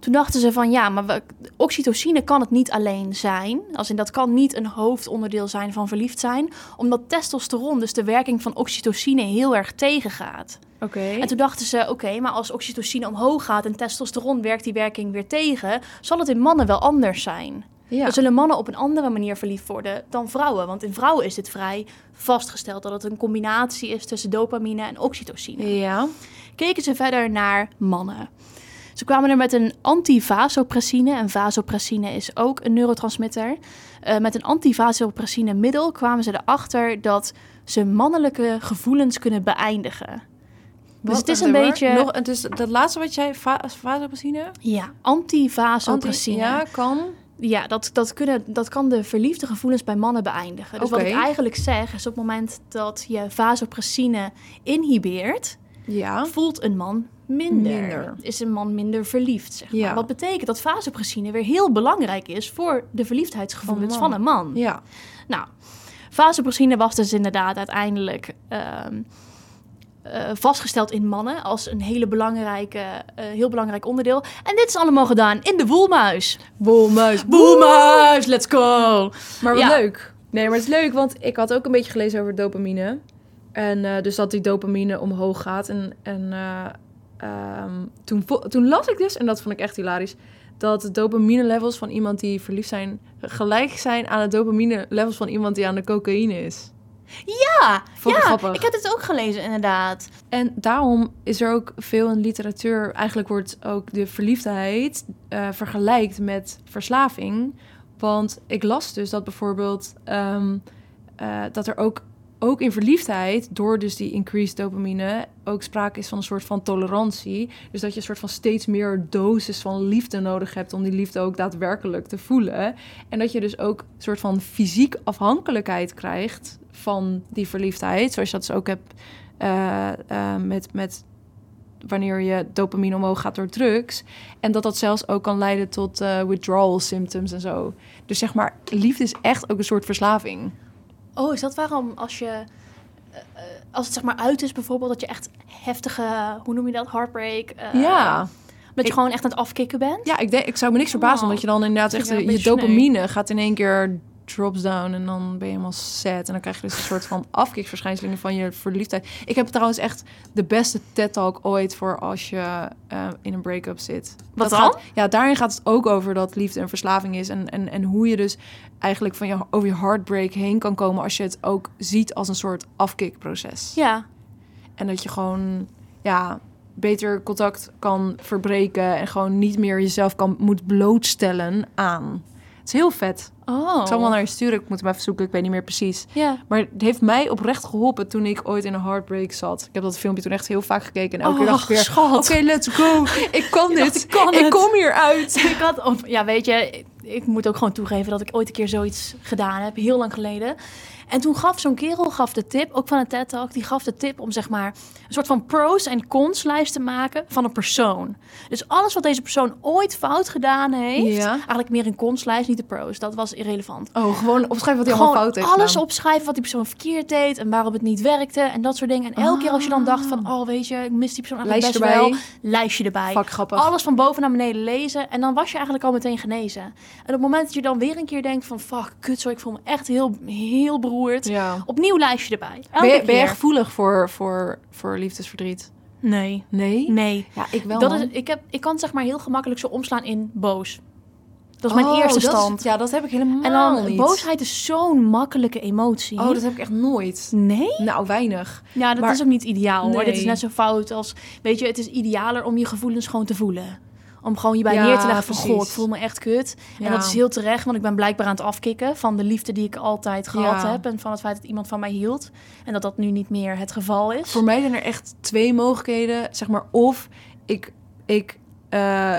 Toen dachten ze van ja, maar we- oxytocine kan het niet alleen zijn. Als in dat kan niet een hoofdonderdeel zijn van verliefd zijn, omdat testosteron dus de werking van oxytocine heel erg tegengaat.
Oké.
En toen dachten ze, oké, maar als oxytocine omhoog gaat en testosteron werkt die werking weer tegen, zal het in mannen wel anders zijn.
Ja.
Dan zullen mannen op een andere manier verliefd worden dan vrouwen. Want in vrouwen is dit vrij vastgesteld dat het een combinatie is tussen dopamine en oxytocine.
ja.
Keken ze verder naar mannen. Ze kwamen er met een antivasopressine. En vasopressine is ook een neurotransmitter. Eh, met een antivasopressine middel kwamen ze erachter dat ze mannelijke gevoelens kunnen beëindigen. Dus
Wat
het is een
hoor.
beetje-
Nog, het is dat laatste wat jij... va- Vasopressine?
Ja, antivasopressine.
Anti- Ja, kan.
Ja, dat, dat, kunnen, dat kan de verliefde gevoelens bij mannen beëindigen. Dus wat
Oké.
ik eigenlijk zeg is op het moment dat je vasopressine inhibeert,
Ja.
voelt een man minder.
Minder.
Is een man minder verliefd, zeg maar.
Ja.
Wat betekent dat vasopressine weer heel belangrijk is voor de verliefdheidsgevoelens
Van
van
een
een man.
Ja.
Nou, vasopressine was dus inderdaad uiteindelijk ehm, eh, vastgesteld in mannen als een hele belangrijke, eh, heel belangrijk onderdeel. En dit is allemaal gedaan in de woelmuis.
Wolmuis.
Woelmuis, let's go!
Maar wat
Ja.
leuk. Nee, maar het is leuk, want ik had ook een beetje gelezen over dopamine. En eh, dus dat die dopamine omhoog gaat. En, en eh, ehm, toen, vo- toen las ik dus, en dat vond ik echt hilarisch, dat de dopamine levels van iemand die verliefd zijn gelijk zijn aan de dopamine levels van iemand die aan de cocaïne is.
Ja,
Vond ik
ja,
grappig.
ik heb dit ook gelezen inderdaad.
En daarom is er ook veel in literatuur, eigenlijk wordt ook de verliefdheid eh, vergelijkt met verslaving. Want ik las dus dat bijvoorbeeld ehm, eh, dat er ook, ook in verliefdheid, door dus die increased dopamine, ook sprake is van een soort van tolerantie. Dus dat je een soort van steeds meer dosis van liefde nodig hebt om die liefde ook daadwerkelijk te voelen. En dat je dus ook een soort van fysiek afhankelijkheid krijgt van die verliefdheid. Zoals je dat dus ook hebt eh, eh, met, met wanneer je dopamine omhoog gaat door drugs. En dat dat zelfs ook kan leiden tot eh, withdrawal symptoms en zo. Dus zeg maar, liefde is echt ook een soort verslaving.
Oh, is dat waarom als je... eh, eh, als het zeg maar uit is bijvoorbeeld, dat je echt heftige, hoe noem je dat, heartbreak... eh,
ja.
Dat je
Ik-
gewoon echt aan het afkicken bent?
ja, ik, denk, ik zou me niks verbazen,
Oh.
omdat je dan inderdaad
Ik
echt
ben
eh,
een
je
beetje sneu.
dopamine gaat in één keer drops down en dan ben je helemaal sad. En dan krijg je dus een soort van afkiksverschijnselingen van je verliefdheid. Ik heb trouwens echt de beste TED-talk ooit voor als je eh, in een break-up zit.
Wat
Dat
dan?
gaat- ja, daarin gaat het ook over dat liefde een verslaving is. En, en, en hoe je dus eigenlijk van je, over je heartbreak heen kan komen als je het ook ziet als een soort afkikproces.
Ja.
En dat je gewoon ja, beter contact kan verbreken en gewoon niet meer jezelf kan, moet blootstellen aan. Het is heel vet.
Oh.
Ik zal hem wel naar je sturen. Ik moet hem even zoeken. Ik weet niet meer precies.
Ja.
Maar het heeft mij oprecht geholpen toen ik ooit in een heartbreak zat. Ik heb dat filmpje toen echt heel vaak gekeken. En elke keer dacht ik weer... Oké,
Oh, schat.
let's go. Oh, Ik kan
dacht,
dit.
ik kan het.
kom hier uit.
Ik had, op, ja, weet je, ik, ik moet ook gewoon toegeven dat ik ooit een keer zoiets gedaan heb, heel lang geleden. En toen gaf zo'n kerel gaf de tip, ook van een TED Talk, die gaf de tip om zeg maar een soort van pros en cons lijst te maken van een persoon. Dus alles wat deze persoon ooit fout gedaan heeft,
Ja.
eigenlijk meer een cons lijst, niet de pros. Dat was irrelevant.
Oh, gewoon opschrijven wat hij
Gewoon
allemaal fout heeft
alles
gedaan.
opschrijven wat die persoon verkeerd deed en waarom het niet werkte en dat soort dingen. En elke keer als je dan dacht van, oh weet je, ik mis die persoon eigenlijk
Ah. Lijstje
best
erbij.
wel, lijstje erbij.
Fuck, grappig.
Alles van boven naar beneden lezen. En dan was je eigenlijk al meteen genezen. En op het moment dat je dan weer een keer denkt van... Fuck, kut zo, ik voel me echt heel, heel beroerd.
Ja.
Opnieuw lijstje erbij. Elke
Ben je, ben je
keer.
gevoelig voor, voor, voor liefdesverdriet?
Nee.
Nee?
Nee.
Ja, ik wel,
dat
man.
is, ik, heb, ik kan zeg maar heel gemakkelijk zo omslaan in boos. Dat is mijn
Oh,
eerste
dat is-
stand.
ja, dat heb ik helemaal
en dan,
niet.
boosheid is zo'n makkelijke emotie.
Oh, dat heb ik echt nooit.
Nee?
Nou, weinig.
Ja, dat
Maar-
is ook niet ideaal hoor. Dit is
Nee.
net zo fout als... Weet je, het is idealer om je gevoelens gewoon te voelen. Om gewoon je bij
Ja,
neer te leggen van...
precies.
Goh, ik voel me echt kut.
Ja.
En dat is heel terecht, want ik ben blijkbaar aan het afkicken... van de liefde die ik altijd gehad
Ja.
heb... en van het feit dat iemand van mij hield. En dat dat nu niet meer het geval is.
Voor mij zijn er echt twee mogelijkheden. Zeg maar, of ik, ik, eh,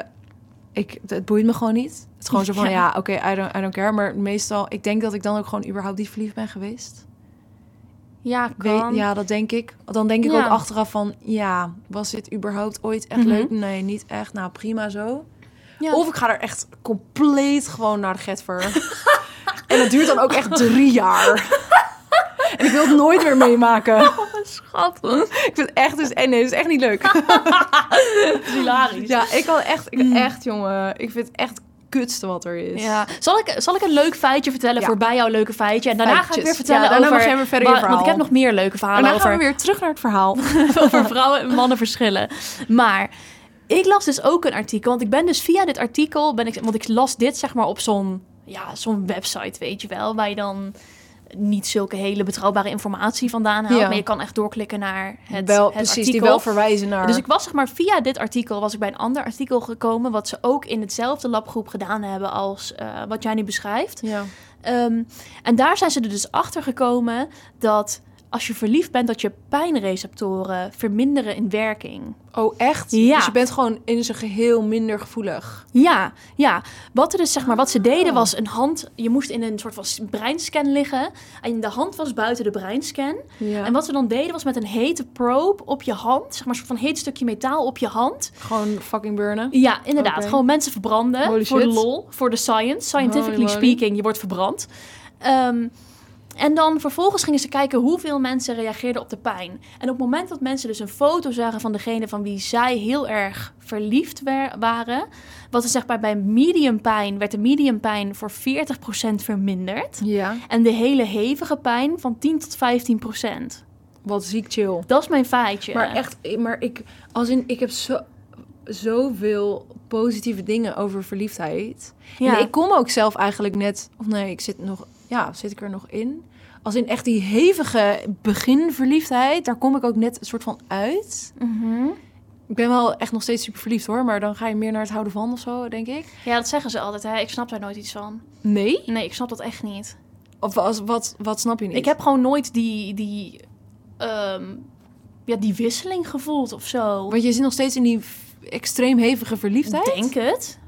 ik, het boeit me gewoon niet. Het is gewoon zo van,
Ja.
ja, oké, I, don't, I don't care. Maar meestal, ik denk dat ik dan ook gewoon überhaupt niet verliefd ben geweest.
Ja,
Weet,
kan.
ja, dat denk ik. Dan denk ik
Ja.
ook achteraf van, ja, was dit überhaupt ooit echt
Mhm.
leuk? Nee, niet echt. Nou, prima zo.
Ja.
Of ik ga er echt compleet gewoon naar de getver. en dat duurt dan ook echt drie jaar. en ik wil het nooit meer meemaken.
Schat,
Ik vind het echt dus en nee, dat is echt niet leuk. Mm.
hilarisch.
Ja, ik kan echt, ik, echt jongen, ik vind het echt het kutste wat er is.
Ja. Zal, ik, zal ik een leuk feitje vertellen
Ja.
voor bij jouw leuke feitje? En daarna ga ik
Feitjes.
weer vertellen
Ja, daarna
over...
mag jij weer verder je
wa- Want ik heb
verhaal.
nog meer leuke
Maar
verhalen
dan
over...
gaan we weer terug naar het verhaal.
over vrouwen en mannen verschillen. Maar ik las dus ook een artikel. Want ik ben dus via dit artikel. Ben ik, want ik las dit zeg maar op zo'n ja, zo'n website, weet je wel. Waar je dan niet zulke hele betrouwbare informatie vandaan haalt.
Ja.
Maar je kan echt doorklikken naar het,
wel,
het
precies,
artikel.
die wel verwijzen naar.
Dus ik was zeg maar via dit artikel was ik bij een ander artikel gekomen. Wat ze ook in hetzelfde labgroep gedaan hebben als eh, wat jij nu beschrijft.
ja.
Ehm, en daar zijn ze er dus achter gekomen dat als je verliefd bent, dat je pijnreceptoren verminderen in werking.
Oh, echt?
Ja.
Dus je bent gewoon in zijn geheel minder gevoelig.
Ja, ja. Wat, er dus, zeg maar, wat ze deden was een hand. Je moest in een soort van s- breinscan liggen. En de hand was buiten de breinscan.
Ja.
En wat ze dan deden was met een hete probe op je hand. Zeg maar een soort van heet stukje metaal op je hand.
Gewoon fucking burnen.
Ja, inderdaad.
Oké.
Gewoon mensen verbranden.
Holy
voor
shit.
de lol, voor de science. Scientifically
Holy moly.
speaking, je wordt verbrand. Ehm, en dan vervolgens gingen ze kijken hoeveel mensen reageerden op de pijn. En op het moment dat mensen dus een foto zagen van degene van wie zij heel erg verliefd wer- waren, was er zeg maar bij medium pijn, werd de medium pijn voor 40% verminderd.
Ja.
En de hele hevige pijn van 10 tot 15%.
Wat ziek chill.
Dat is mijn feitje.
Maar echt, maar ik, als in, ik heb zo, zoveel positieve dingen over verliefdheid.
Ja.
En ik kom ook zelf eigenlijk net, of nee, ik zit nog, ja, zit ik er nog in? Als in echt die hevige beginverliefdheid, daar kom ik ook net een soort van uit.
Mhm.
Ik ben wel echt nog steeds super verliefd hoor, maar dan ga je meer naar het houden van of zo, denk ik.
ja, dat zeggen ze altijd. Hè? Ik snap daar nooit iets van.
Nee?
Nee, ik snap dat echt niet.
Of als, wat, wat snap je niet?
Ik heb gewoon nooit die, die, ehm, ja, die wisseling gevoeld of zo.
Want je zit nog steeds in die f- extreem hevige verliefdheid?
Denk het.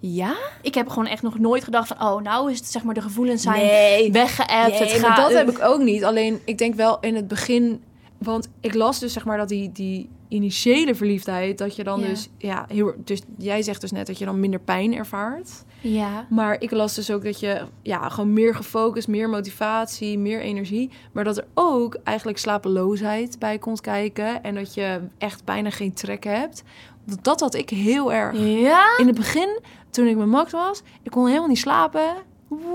Ja?
Ik heb gewoon echt nog nooit gedacht van... oh, nou is het zeg maar de gevoelens zijn
Nee.
weggeëpt.
Nee,
het
maar
gaat-
dat heb ik ook niet. Alleen ik denk wel in het begin. Want ik las dus zeg maar dat die, die initiële verliefdheid. dat je dan
Ja.
dus. Ja, heel, dus jij zegt dus net dat je dan minder pijn ervaart.
Ja.
Maar ik las dus ook dat je. ja, gewoon meer gefocust, meer motivatie, meer energie. Maar dat er ook eigenlijk slapeloosheid bij komt kijken. En dat je echt bijna geen trek hebt. Want Dat had ik heel erg.
Ja?
In het begin, toen ik met Max was, ik kon helemaal niet slapen.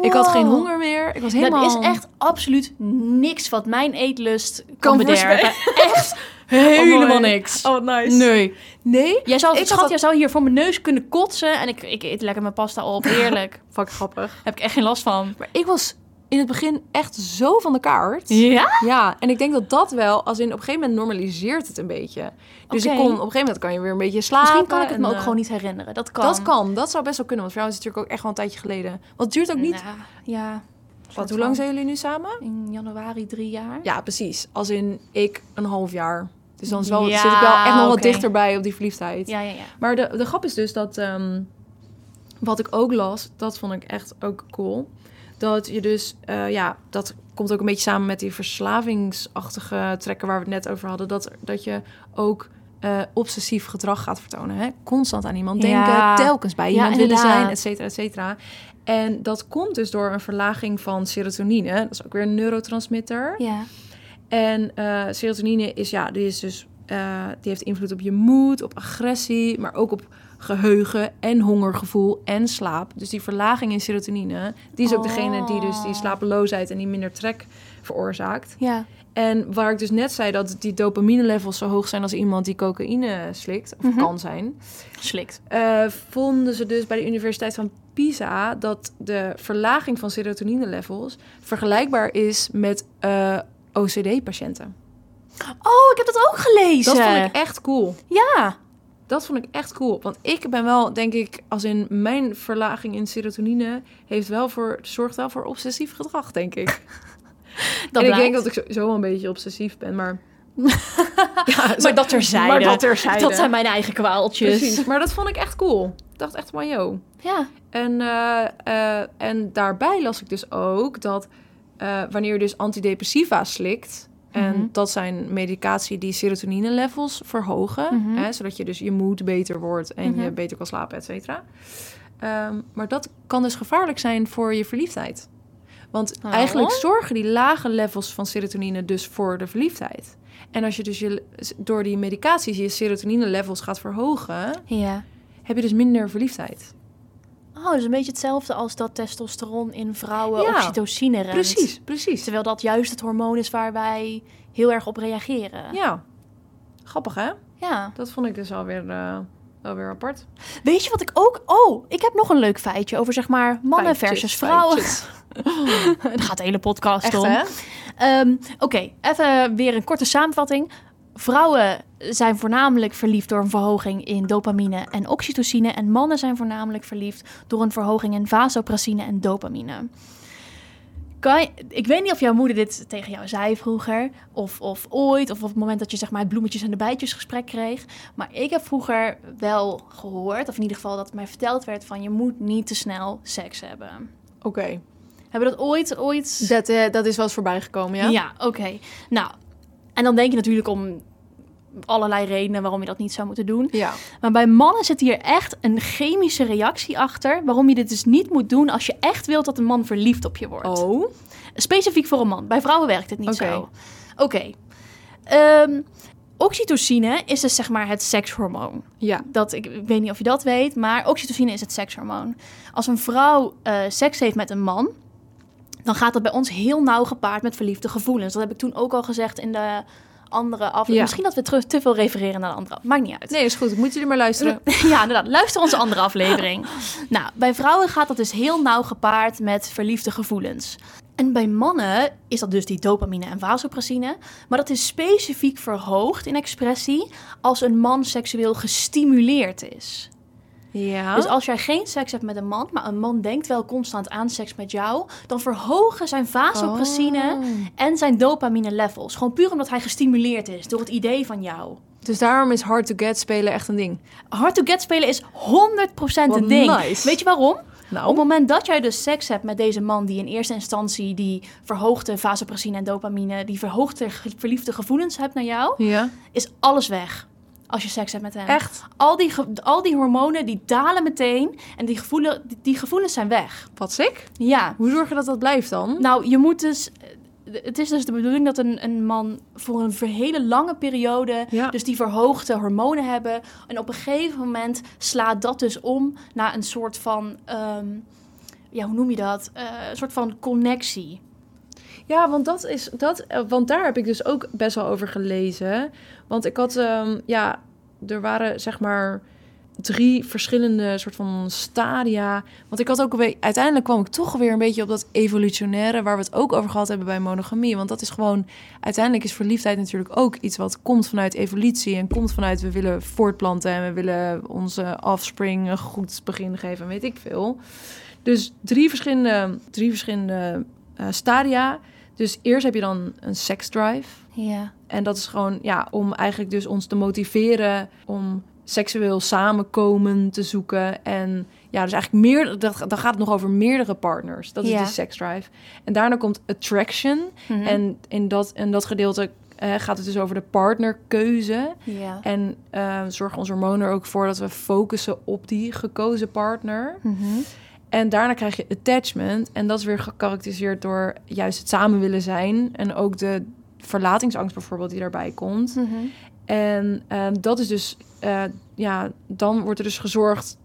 Ik had geen
Wow.
honger meer. Ik was helemaal...
Dat is echt absoluut niks wat mijn eetlust kan,
Kan
bederven. Echt
Oh,
helemaal
mooi.
niks.
Oh, wat nice. Nee. Nee?
Jij zou,
Ik
schat,
had-
jij zou hier voor mijn neus kunnen kotsen... en ik, ik eet lekker mijn pasta op. Heerlijk.
Fuck grappig.
heb ik echt geen last van.
Maar ik was in het begin echt zo van de kaart.
Ja?
Ja, en ik denk dat dat wel, als in op een gegeven moment normaliseert het een beetje. Dus
Oké.
ik kon, op een gegeven moment kan je weer een beetje slapen.
Misschien kan ik het
en,
me ook
eh,
gewoon niet herinneren. Dat kan.
Dat kan, dat zou best wel kunnen. Want voor jou is het natuurlijk ook echt wel een tijdje geleden. Want het duurt ook niet...
Nou, ja.
wat, hoe lang zijn jullie nu samen?
In januari drie jaar.
Ja, precies. Als in ik een half jaar. Dus dan is wel,
Ja,
zit ik wel echt nog wat
oké.
dichterbij op die verliefdheid.
Ja, ja, ja.
Maar de, de grap is dus dat... ehm, wat ik ook las, dat vond ik echt ook cool. Dat je dus... eh, ja, dat komt ook een beetje samen met die verslavingsachtige trekken... waar we het net over hadden. Dat, dat je ook... eh, obsessief gedrag gaat vertonen. Hè? Constant aan iemand denken,
Ja.
telkens bij
Ja,
iemand willen
inderdaad.
zijn, et cetera, et cetera. En dat komt dus door een verlaging van serotonine. Dat is ook weer een neurotransmitter.
Ja.
En eh, serotonine is, ja, die is dus, eh, die heeft invloed op je moed, op agressie, maar ook op geheugen en hongergevoel en slaap. Dus die verlaging in serotonine, die is ook degene die dus die
Oh.
slapeloosheid en die minder trek veroorzaakt.
Ja.
En waar ik dus net zei dat die dopamine levels zo hoog zijn als iemand die cocaïne slikt, of
Mhm.
kan zijn,
Slikt.
eh, vonden ze dus bij de Universiteit van Pisa dat de verlaging van serotonine levels vergelijkbaar is met eh, OCD-patiënten.
Oh, ik heb dat ook gelezen.
Dat vond ik echt cool.
Ja.
Dat vond ik echt cool. Want ik ben wel, denk ik, als in mijn verlaging in serotonine heeft wel voor, zorgt wel voor obsessief gedrag, denk ik.
Dat
en ik
blijkt.
denk dat ik sowieso wel een beetje obsessief ben, maar. ja, zo-
Maar dat terzijde.
Maar dat terzijde.
Dat zijn mijn eigen kwaaltjes.
Precies. Maar dat vond ik echt cool. Ik dacht echt van, yo.
Ja.
En, eh, eh, en daarbij las ik dus ook dat eh, wanneer je dus antidepressiva slikt.
Mhm.
En dat zijn medicatie die serotonine levels verhogen.
Mhm.
Hè, zodat je dus je moed beter wordt en
Mhm.
je beter kan slapen, et cetera. Ehm, maar dat kan dus gevaarlijk zijn voor je verliefdheid. Want
Oh.
eigenlijk zorgen die lage levels van serotonine dus voor de verliefdheid. En als je dus je, door die medicaties je serotonine levels gaat verhogen,
Ja.
heb je dus minder verliefdheid.
Oh, dus een beetje hetzelfde als dat testosteron in vrouwen
Ja.
oxytocine remt.
Precies, precies.
Terwijl dat juist het hormoon is waar wij heel erg op reageren.
Ja. Grappig, hè?
Ja.
Dat vond ik dus alweer, eh alweer apart.
Weet je wat ik ook... Oh, ik heb nog een leuk feitje over zeg maar mannen
Feitjes,
versus vrouwen.
feitjes.
Het gaat de hele podcast
Echt,
om.
hè?
Ehm, Oké, even weer een korte samenvatting. Vrouwen zijn voornamelijk verliefd door een verhoging in dopamine en oxytocine. En mannen zijn voornamelijk verliefd door een verhoging in vasopressine en dopamine. Kan je- ik weet niet of jouw moeder dit tegen jou zei vroeger, of, of ooit, of op het moment dat je zeg maar het bloemetjes en de bijtjes gesprek kreeg. Maar ik heb vroeger wel gehoord, of in ieder geval dat het mij verteld werd van je moet niet te snel seks hebben.
Oké.
Hebben we dat ooit, ooit?
Dat, eh, dat is wel eens voorbij gekomen, ja?
oké. Nou, en dan denk je natuurlijk om allerlei redenen waarom je dat niet zou moeten doen.
Ja.
Maar bij mannen zit hier echt een chemische reactie achter. Waarom je dit dus niet moet doen als je echt wilt dat een man verliefd op je wordt.
Oh.
Specifiek voor een man. Bij vrouwen werkt het niet
Oké.
zo. Oké. Ehm, oxytocine is dus zeg maar het sekshormoon.
Ja.
Dat, ik, ik weet niet of je dat weet, maar oxytocine is het sekshormoon. Als een vrouw eh, seks heeft met een man, dan gaat dat bij ons heel nauw gepaard met verliefde gevoelens. Dat heb ik toen ook al gezegd in de andere aflevering.
Ja.
Misschien dat we terug te veel refereren naar de andere. Maakt niet uit.
Nee, is goed. Moeten jullie maar luisteren.
Ja, inderdaad. Luister onze andere aflevering. Nou, bij vrouwen gaat dat dus heel nauw gepaard met verliefde gevoelens. En bij mannen is dat dus die dopamine en vasopressine. Maar dat is specifiek verhoogd in expressie als een man seksueel gestimuleerd is.
Ja.
Dus als jij geen seks hebt met een man, maar een man denkt wel constant aan seks met jou, dan verhogen zijn vasopressine
Oh.
en zijn dopamine levels. Gewoon puur omdat hij gestimuleerd is door het idee van jou.
Dus daarom is hard to get spelen echt een ding.
Hard to get spelen is 100%
Wat
een ding.
nice.
Weet je waarom?
Nou.
Op het moment dat jij dus seks hebt met deze man die in eerste instantie die verhoogde vasopressine en dopamine, die verhoogde ge- verliefde gevoelens hebt naar jou,
Ja.
is alles weg als je seks hebt met hem.
Echt?
Al die, ge- al die hormonen die dalen meteen en die, gevoelen, die, die gevoelens zijn weg.
Wat sick.
Ja.
Hoe zorg je dat dat blijft dan?
Nou, je moet dus. Het is dus de bedoeling dat een, een man voor een ver- hele lange periode.
Ja.
dus die verhoogde hormonen hebben. En op een gegeven moment slaat dat dus om naar een soort van. ehm, ja, hoe noem je dat? Eh, een soort van connectie.
Ja, want dat is dat. eh, Want daar heb ik dus ook best wel over gelezen. Want ik had, ehm, ja, er waren zeg maar drie verschillende soort van stadia. Want ik had ook weer, uiteindelijk kwam ik toch weer een beetje op dat evolutionaire waar we het ook over gehad hebben bij monogamie. Want dat is gewoon, uiteindelijk is verliefdheid natuurlijk ook iets wat komt vanuit evolutie en komt vanuit we willen voortplanten en we willen onze offspring een goed begin geven en weet ik veel. Dus drie verschillende, drie verschillende eh, stadia. Dus eerst heb je dan een seksdrive.
Ja.
En dat is gewoon ja, om eigenlijk dus ons te motiveren om seksueel samenkomen te zoeken. En ja, dus eigenlijk meer, dat, dan gaat het nog over meerdere partners. Dat is
Ja. Mhm.
die seksdrive. En daarna komt attraction. En in dat, in dat gedeelte eh, gaat het dus over de partnerkeuze.
Ja.
En eh, zorgen onze hormonen er ook voor dat we focussen op die gekozen partner.
Mhm.
En daarna krijg je attachment. En dat is weer gekarakteriseerd door juist het samen willen zijn. En ook de verlatingsangst bijvoorbeeld die daarbij komt.
Mhm.
En ehm, dat is dus, eh, ja, dan wordt er dus gezorgd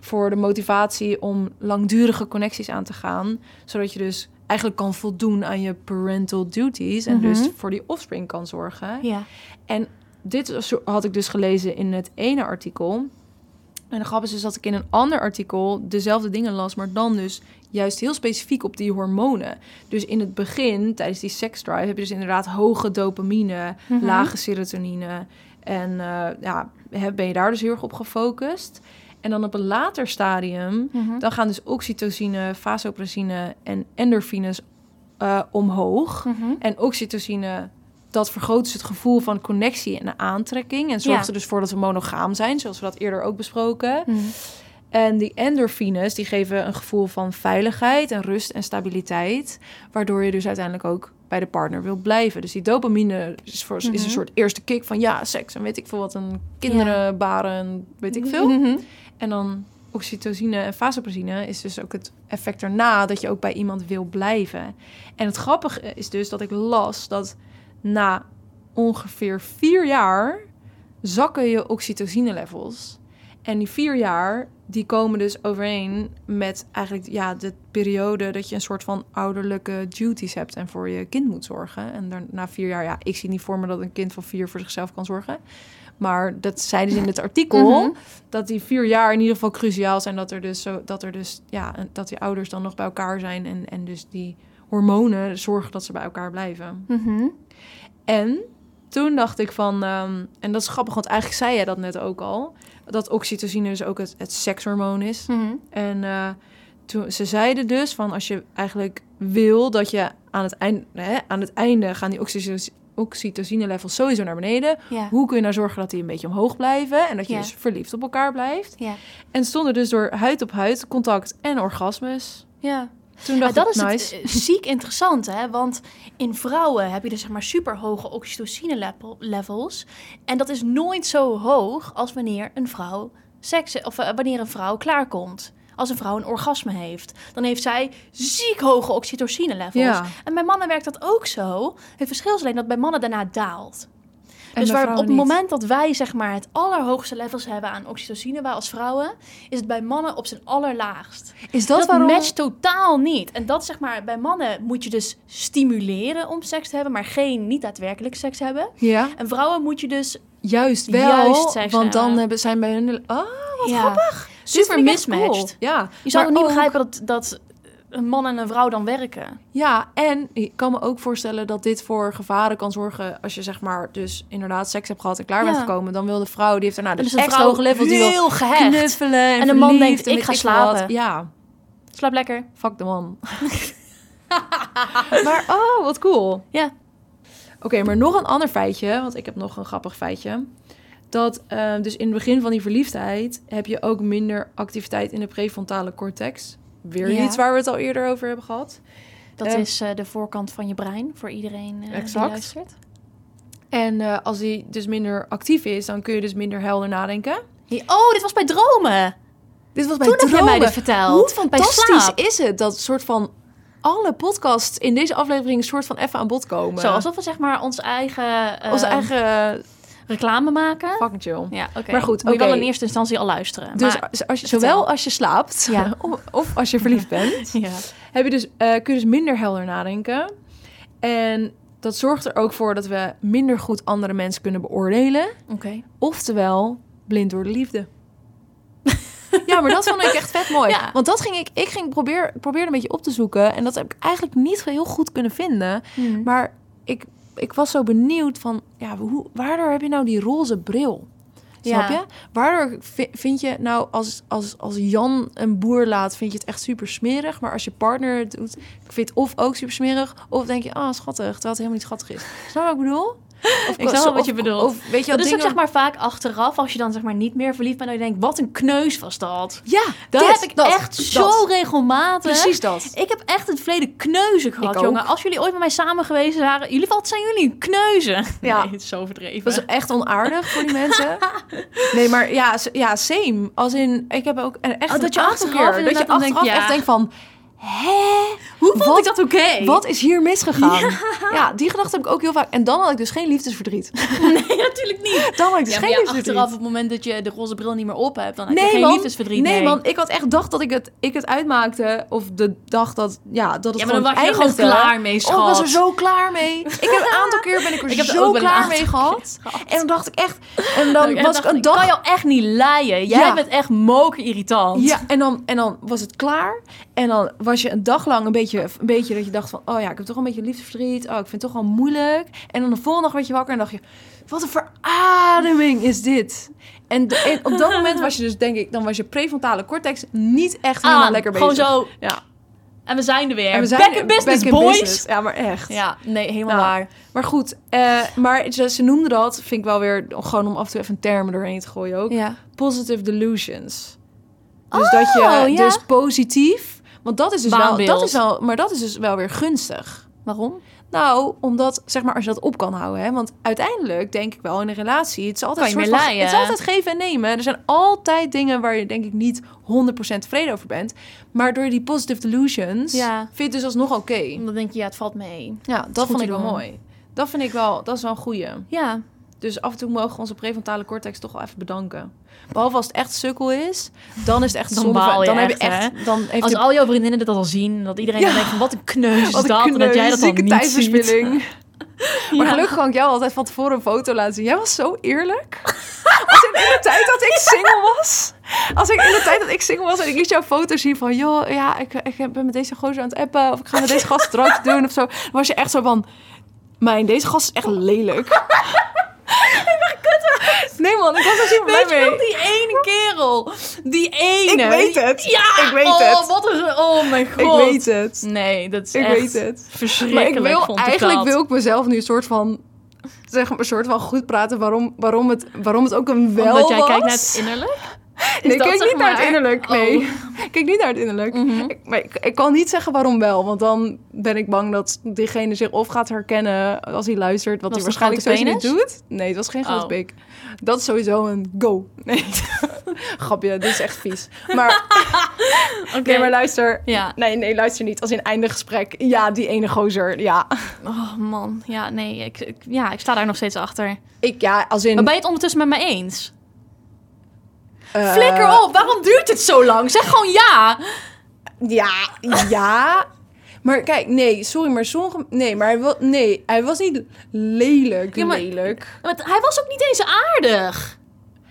voor de motivatie om langdurige connecties aan te gaan. Zodat je dus eigenlijk kan voldoen aan je parental duties. En dus
Mhm.
voor die offspring kan zorgen.
Ja.
En dit zo- had ik dus gelezen in het ene artikel. En de grap is dus dat ik in een ander artikel dezelfde dingen las, maar dan dus juist heel specifiek op die hormonen. Dus in het begin, tijdens die seksdrive, heb je dus inderdaad hoge dopamine,
Mhm.
lage serotonine. En eh, ja, hè, ben je daar dus heel erg op gefocust. En dan op een later stadium,
Mhm.
dan gaan dus oxytocine, vasopressine en endorfines eh, omhoog.
Mhm.
En oxytocine, eh, dat vergroot dus het gevoel van connectie en aantrekking. En zorgt
Ja.
er dus voor dat we monogaam zijn, zoals we dat eerder ook besproken. En die endorfines, die geven een gevoel van veiligheid en rust en stabiliteit. Waardoor je dus uiteindelijk ook bij de partner wil blijven. Dus die dopamine is, voor, is
Mhm.
een soort eerste kick van ja, seks en weet ik veel wat. En kinderen baren, en weet ik veel.
Mhm.
En dan oxytocine en vasopressine is dus ook het effect daarna dat je ook bij iemand wil blijven. En het grappige is dus dat ik las dat na ongeveer vier jaar zakken je oxytocine levels. En die vier jaar, die komen dus overeen met eigenlijk ja, de periode dat je een soort van ouderlijke duties hebt en voor je kind moet zorgen. En daar- na vier jaar, ja, ik zie niet voor me dat een kind van vier voor zichzelf kan zorgen. Maar dat zeiden ze in het artikel,
Mhm.
dat die vier jaar in ieder geval cruciaal zijn. Dat er dus, zo, dat er dus ja, en dat die ouders dan nog bij elkaar zijn en, en dus die hormonen zorgen dat ze bij elkaar blijven.
Mhm.
En toen dacht ik van, ehm, en dat is grappig, want eigenlijk zei jij dat net ook al, dat oxytocine dus ook het, het sekshormoon is.
Mhm.
En eh, toen, ze zeiden dus van als je eigenlijk wil dat je aan het einde, hè, aan het einde gaan die oxytocine, oxytocine levels sowieso naar beneden.
Ja.
Hoe kun je nou zorgen dat die een beetje omhoog blijven en dat je
Ja.
dus verliefd op elkaar blijft?
Ja.
En stonden dus door huid op huid contact en orgasmes.
Ja.
Toen
Maar
dacht
dat
ik,
is het,
nice.
eh, ziek interessant, hè? Want in vrouwen heb je dus zeg maar superhoge oxytocine lepo- levels. En dat is nooit zo hoog als wanneer een vrouw seks of eh, wanneer een vrouw klaarkomt. Als een vrouw een orgasme heeft, dan heeft zij ziek hoge oxytocine levels.
Ja.
En bij mannen werkt dat ook zo. Het verschil is alleen dat bij mannen daarna daalt.
En
dus
bij
waar, op
vrouwen
het
niet.
moment dat wij zeg maar het allerhoogste levels hebben aan oxytocine, wij als vrouwen, is het bij mannen op zijn allerlaagst.
is
Dat,
dat, waarom?
matcht totaal niet. En dat zeg maar, bij mannen moet je dus stimuleren om seks te hebben, maar geen niet daadwerkelijk seks hebben.
Ja,
En vrouwen moet je dus
juist wel.
Juist, zei ze.
want dan hebben, zijn bij hun. Ah,
ja,
dit
super
vind ik echt
mismatched.
cool. Ja,
Je zou
maar
niet
ook-
begrijpen dat, dat een man en een vrouw dan werken.
Ja, en ik kan me ook voorstellen dat dit voor gevaren kan zorgen als je zeg maar dus inderdaad seks hebt gehad en klaar bent
Ja.
gekomen, dan wil de vrouw die heeft daarna
En
dus
dus een
echt
vrouw
hoge levels die wil
heel gehecht.
knuffelen en,
En de man
verliefd
denkt,
en
ik
weet
ga
veel wat.
slapen.
Ja,
Slaap lekker.
fuck de man. maar oh, wat cool.
Ja.
Oké, maar nog een ander feitje, want ik heb nog een grappig feitje. Dat eh, dus in het begin van die verliefdheid heb je ook minder activiteit in de prefrontale cortex. Weer
Ja.
iets waar we het al eerder over hebben gehad.
Dat
Eh.
is eh, de voorkant van je brein voor iedereen eh,
Exact.
die luistert.
En eh, als die dus minder actief is, dan kun je dus minder helder nadenken.
Hey, Oh, dit was bij dromen.
Dit was bij
Toen heb jij
dromen.
mij dit verteld.
Hoe
bij
fantastisch
slaap.
is het dat soort van alle podcasts in deze aflevering soort van even aan bod komen.
Zo, alsof we zeg maar ons eigen, eh,
onze eigen
reclame maken.
fucking chill.
Ja, oké.
Maar goed,
Moet je wel
oké.
in eerste instantie al luisteren.
Dus
maar-
als- als je,
vertel.
zowel als je slaapt
Ja.
of, of als je verliefd bent,
ja.
heb je dus, eh, kun je dus minder helder nadenken. En dat zorgt er ook voor dat we minder goed andere mensen kunnen beoordelen.
Oké.
Oftewel, blind door de liefde. ja, maar dat vond ik echt vet mooi.
Ja.
Want dat ging ik, ik ging probeer, probeerde een beetje op te zoeken. En dat heb ik eigenlijk niet heel goed kunnen vinden.
Hmm.
Maar ik, ik was zo benieuwd van, ja, hoe, waardoor heb je nou die roze bril? Snap
Ja.
je? Waardoor vi- vind je nou, als, als, als Jan een boer laat, vind je het echt super smerig. Maar als je partner het doet, vind je het of ook super smerig. Of denk je, ah, schattig, terwijl het helemaal niet schattig is. Snap je wat ik bedoel? Of,
Ik snap wat je
of-
bedoelt.
Of, weet je,
Dat
wat
is ook
dingen-
zeg maar vaak achteraf, als je dan zeg maar niet meer verliefd bent, dan denk je, wat een kneus was dat.
Ja,
Dat,
dat
heb ik
dat,
echt
dat.
zo regelmatig.
Precies dat.
Ik heb echt het verleden kneuzen gehad,
ook.
jongen. Als jullie ooit met mij samen geweest waren, jullie wat zijn jullie kneuzen.
Ja.
Nee, het is zo verdreven.
Dat is echt onaardig voor die mensen. Nee, maar ja, s- ja same. Als in, ik heb ook een- echt
Oh, dat
een
je
aantal
achteraf
keer dat
inderdaad
je
dan denkt,
achteraf
ja.
echt denkt van, hè?
Hoe vond
Wat-
ik dat oké?
Wat is hier misgegaan? Ja. die gedachte heb ik ook heel vaak. En dan had ik dus geen liefdesverdriet.
Nee, natuurlijk niet.
Dan had ik dus
Ja, maar
geen
ja,
liefdesverdriet.
achteraf, op het moment dat je de roze bril niet meer op hebt, dan heb je
Nee,
geen
man.
liefdesverdriet.
Nee, man, ik had echt gedacht dat ik het, ik het uitmaakte. Of de dag dat, ja, dat het
Ja, maar dan was
gewoon
je er gewoon
eindigde.
klaar mee, schat.
Oh, ik was er zo klaar mee. Ik heb een aantal keer ben ik er
Ik heb er
zo
ook wel een
klaar
aantal
mee
keer
gehad. En dan dacht ik echt... En dan
Ik
was
dacht,
ik een
ik oh
dag
kan jou echt niet laaien. Jij
Ja.
bent echt moker irritant.
Ja, en dan, en dan was het klaar. En dan was je een dag lang een beetje, een beetje dat je dacht van... oh ja, ik heb toch een beetje liefdesverdriet. Oh, ik vind het toch wel moeilijk. En dan de volgende dag werd je wakker en dacht je... wat een verademing is dit. En, de- en op dat moment was je dus, denk ik... dan was je prefrontale cortex niet echt helemaal
Aan.
lekker bezig.
Ah, Gewoon zo.
Ja.
En we zijn er weer.
En we zijn
Back in business,
back in
boys.
business. Ja, maar echt.
Ja, nee, helemaal
Nou,
waar.
Maar goed, eh, maar ze, ze noemde dat... vind ik wel weer gewoon om af en toe even een term doorheen te gooien ook
Ja.
positive delusions. Dus dat je
Oh, ja.
dus positief, want dat is dus wel,
Waanbeeld.
dat is wel, maar dat is dus wel weer gunstig.
Waarom?
Nou, omdat zeg maar als je dat op kan houden, hè, want uiteindelijk denk ik wel in een relatie, het is altijd
Kan je
een soort
meer
van-
leien.
het is altijd geven en nemen. Er zijn altijd dingen waar je denk ik niet 100% tevreden over bent, maar door die positive delusions
Ja.
vind je het dus alsnog oké.
Omdat denk je, ja, het valt mee.
Ja,
goed
dat vond
te
ik wel
doen.
mooi. Dat vind ik wel, dat is wel een goeie.
Ja.
Dus af en toe mogen we onze prefrontale cortex toch wel even bedanken. Behalve als het echt sukkel is, dan is het echt
Dan
zonde van-
baal je
dan heb
echt,
je echt, dan heeft
Als
de-
al jouw vriendinnen dat al zien, dat iedereen
Ja.
dan denkt van wat een kneus is
wat een
dat. en dat jij dat dan
zieke
niet ziet.
tijdverspilling. Maar gelukkig kan ik jou altijd van tevoren een foto laten zien. Jij was zo eerlijk. Als in de tijd dat ik single was. Als ik in de tijd dat ik single was en ik liet jou foto's zien van... joh, ja, ik, ik ben met deze gozer aan het appen... of ik ga met deze gast drankje doen of zo. Dan was je echt zo van... Mijn, deze gast is echt lelijk. Nee man, ik was er super blij
Weet je
mee.
nog die ene keer kerel. Die ene.
Ik weet het.
Ja!
Ik weet
oh,
het.
Wat een, oh mijn god.
Ik weet het.
Nee, dat is
Ik
echt
weet het. Maar
verschrikkelijk.
ik wil,
vond ik
eigenlijk
dat.
wil ik mezelf nu een soort van, zeg maar, een soort van goed praten waarom, waarom, het, waarom het ook een wel
Omdat jij
was.
kijkt naar het innerlijk? Is
nee, ik
dat
kijk
zeg
niet naar het
maar- Oh.
innerlijk. Nee, ik kijk niet naar het innerlijk.
Mhm.
Ik, maar ik, ik kan niet zeggen waarom wel, want dan ben ik bang dat diegene zich of gaat herkennen als hij luistert, wat
Was
hij
het
waarschijnlijk
grote
sowieso niet
penis?
doet. Nee, het was geen grote
Oh.
pik. Dat is sowieso een go. Nee, grapje, dit is echt vies. Maar,
Oké.
nee, maar luister.
Ja.
Nee, nee, luister niet. Als in einde gesprek. Ja, die ene gozer. Ja.
Oh man. Ja, nee. Ik, ik- ja, ik sta daar nog steeds achter.
Ik, ja, als in...
Maar ben je het ondertussen met me eens?
eh,
Flikker op. Waarom duurt het zo lang? Zeg gewoon ja.
Ja, ja. Maar kijk, nee, sorry, maar sommige... Nee, maar hij, wa- nee, hij was niet lelijk,
Ja, maar-
lelijk.
Want hij was ook niet eens aardig.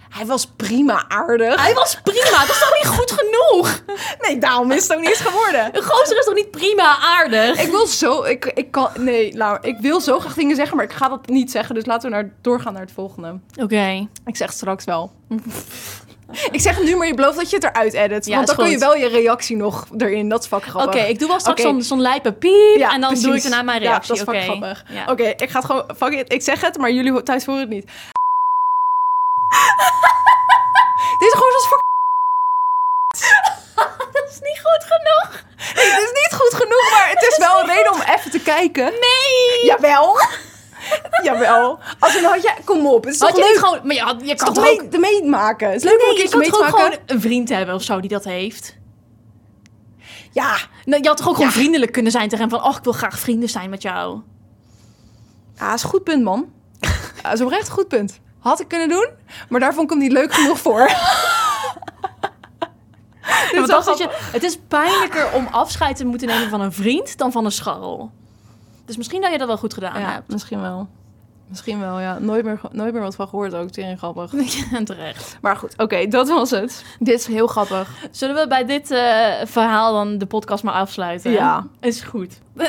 Hij was prima aardig.
Hij was prima. Dat is toch niet goed genoeg?
Nee, daarom is het ook niet eens geworden.
Een gozer is toch niet prima aardig?
Ik wil zo... Ik, ik kan... Nee, Laura, ik wil zo graag dingen zeggen, maar ik ga dat niet zeggen. Dus laten we naar, doorgaan naar het volgende.
Oké.
Ik zeg het straks wel. ik zeg het nu, maar je belooft dat je het eruit edit.
Ja,
want
is
dan kun je
goed.
wel je reactie nog erin. Dat is fucking
Oké,
grappig.
ik doe wel straks
Oké.
zo'n zo'n lijpe piep
Ja,
en dan doe ik
precies.
daarna mijn
Ja,
reactie.
dat is fucking
Oké.
grappig.
Ja.
Oké, ik ga het gewoon... Fuck it, ik zeg het, maar jullie ho- thuis horen het niet. Deze gozer was fucking...
Dat is niet goed genoeg.
Het is niet goed genoeg, maar het is wel een reden om even te kijken.
Nee.
Jawel. Jawel. Als in, had jij... Kom op, het is
Had
toch
je
leuk?
niet gewoon... Maar je, had- je
Het
kan
is
toch
toch
ook...
mee, de meemaken? Het is leuk om een
je
keertje
kan
mee te
toch ook
maken?
gewoon een vriend hebben of zo die dat heeft?
Ja.
Nou, je had toch ook gewoon vriendelijk kunnen zijn tegen hem van... Oh, ik wil graag vrienden zijn met jou.
Ja, is een goed punt, man. Ja, is oprecht een goed punt. Had ik kunnen doen, maar daar vond ik hem niet leuk genoeg voor.
Ja, want
wel
dan zit je, het is pijnlijker om afscheid te moeten nemen van een vriend dan van een scharrel. Dus misschien dat je dat wel goed gedaan
Ja, misschien wel. Misschien wel, ja. Nooit meer, nooit meer wat van gehoord ook. Tering grappig.
hebt. En terecht.
Maar goed, oké, dat was het. Dit is heel grappig.
Zullen we bij dit eh, verhaal dan de podcast maar afsluiten?
Ja.
Is goed.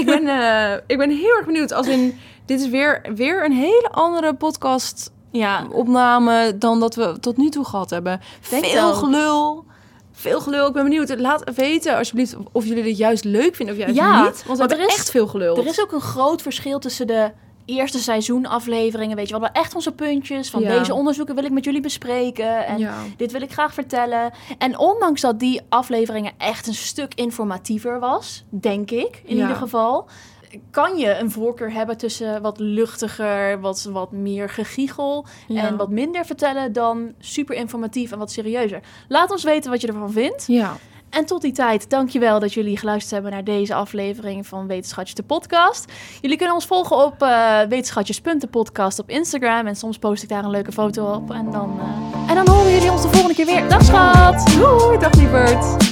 ik, ben, eh, ik ben heel erg benieuwd. Als in, dit is weer, weer een hele andere podcast
Ja.
opname dan dat we tot nu toe gehad hebben.
Denk het
veel
ook.
gelul. Veel gelul. Ik ben benieuwd. Laat weten alsjeblieft of jullie dit juist leuk vinden of juist
Ja,
niet. Want
want
we hebben
er is-
echt veel gelul.
Er is ook een groot verschil tussen de eerste seizoen afleveringen. Weet je, we hadden echt onze puntjes. Van
Ja.
deze onderzoeken wil ik met jullie bespreken. En
Ja.
dit wil ik graag vertellen. En ondanks dat die afleveringen echt een stuk informatiever was, denk ik in
Ja.
ieder geval, kan je een voorkeur hebben tussen wat luchtiger, wat, wat meer gegiegel en wat minder vertellen dan super informatief en wat serieuzer. Laat ons weten wat je ervan vindt.
Ja.
En tot die tijd, dankjewel dat jullie geluisterd hebben naar deze aflevering van Wetenschatjes de podcast. Jullie kunnen ons volgen op eh wetenschatjes.depodcast op Instagram. En soms post ik daar een leuke foto op. En dan, eh, en dan horen jullie ons de volgende keer weer. Dag schat!
Doei, dag lieverd.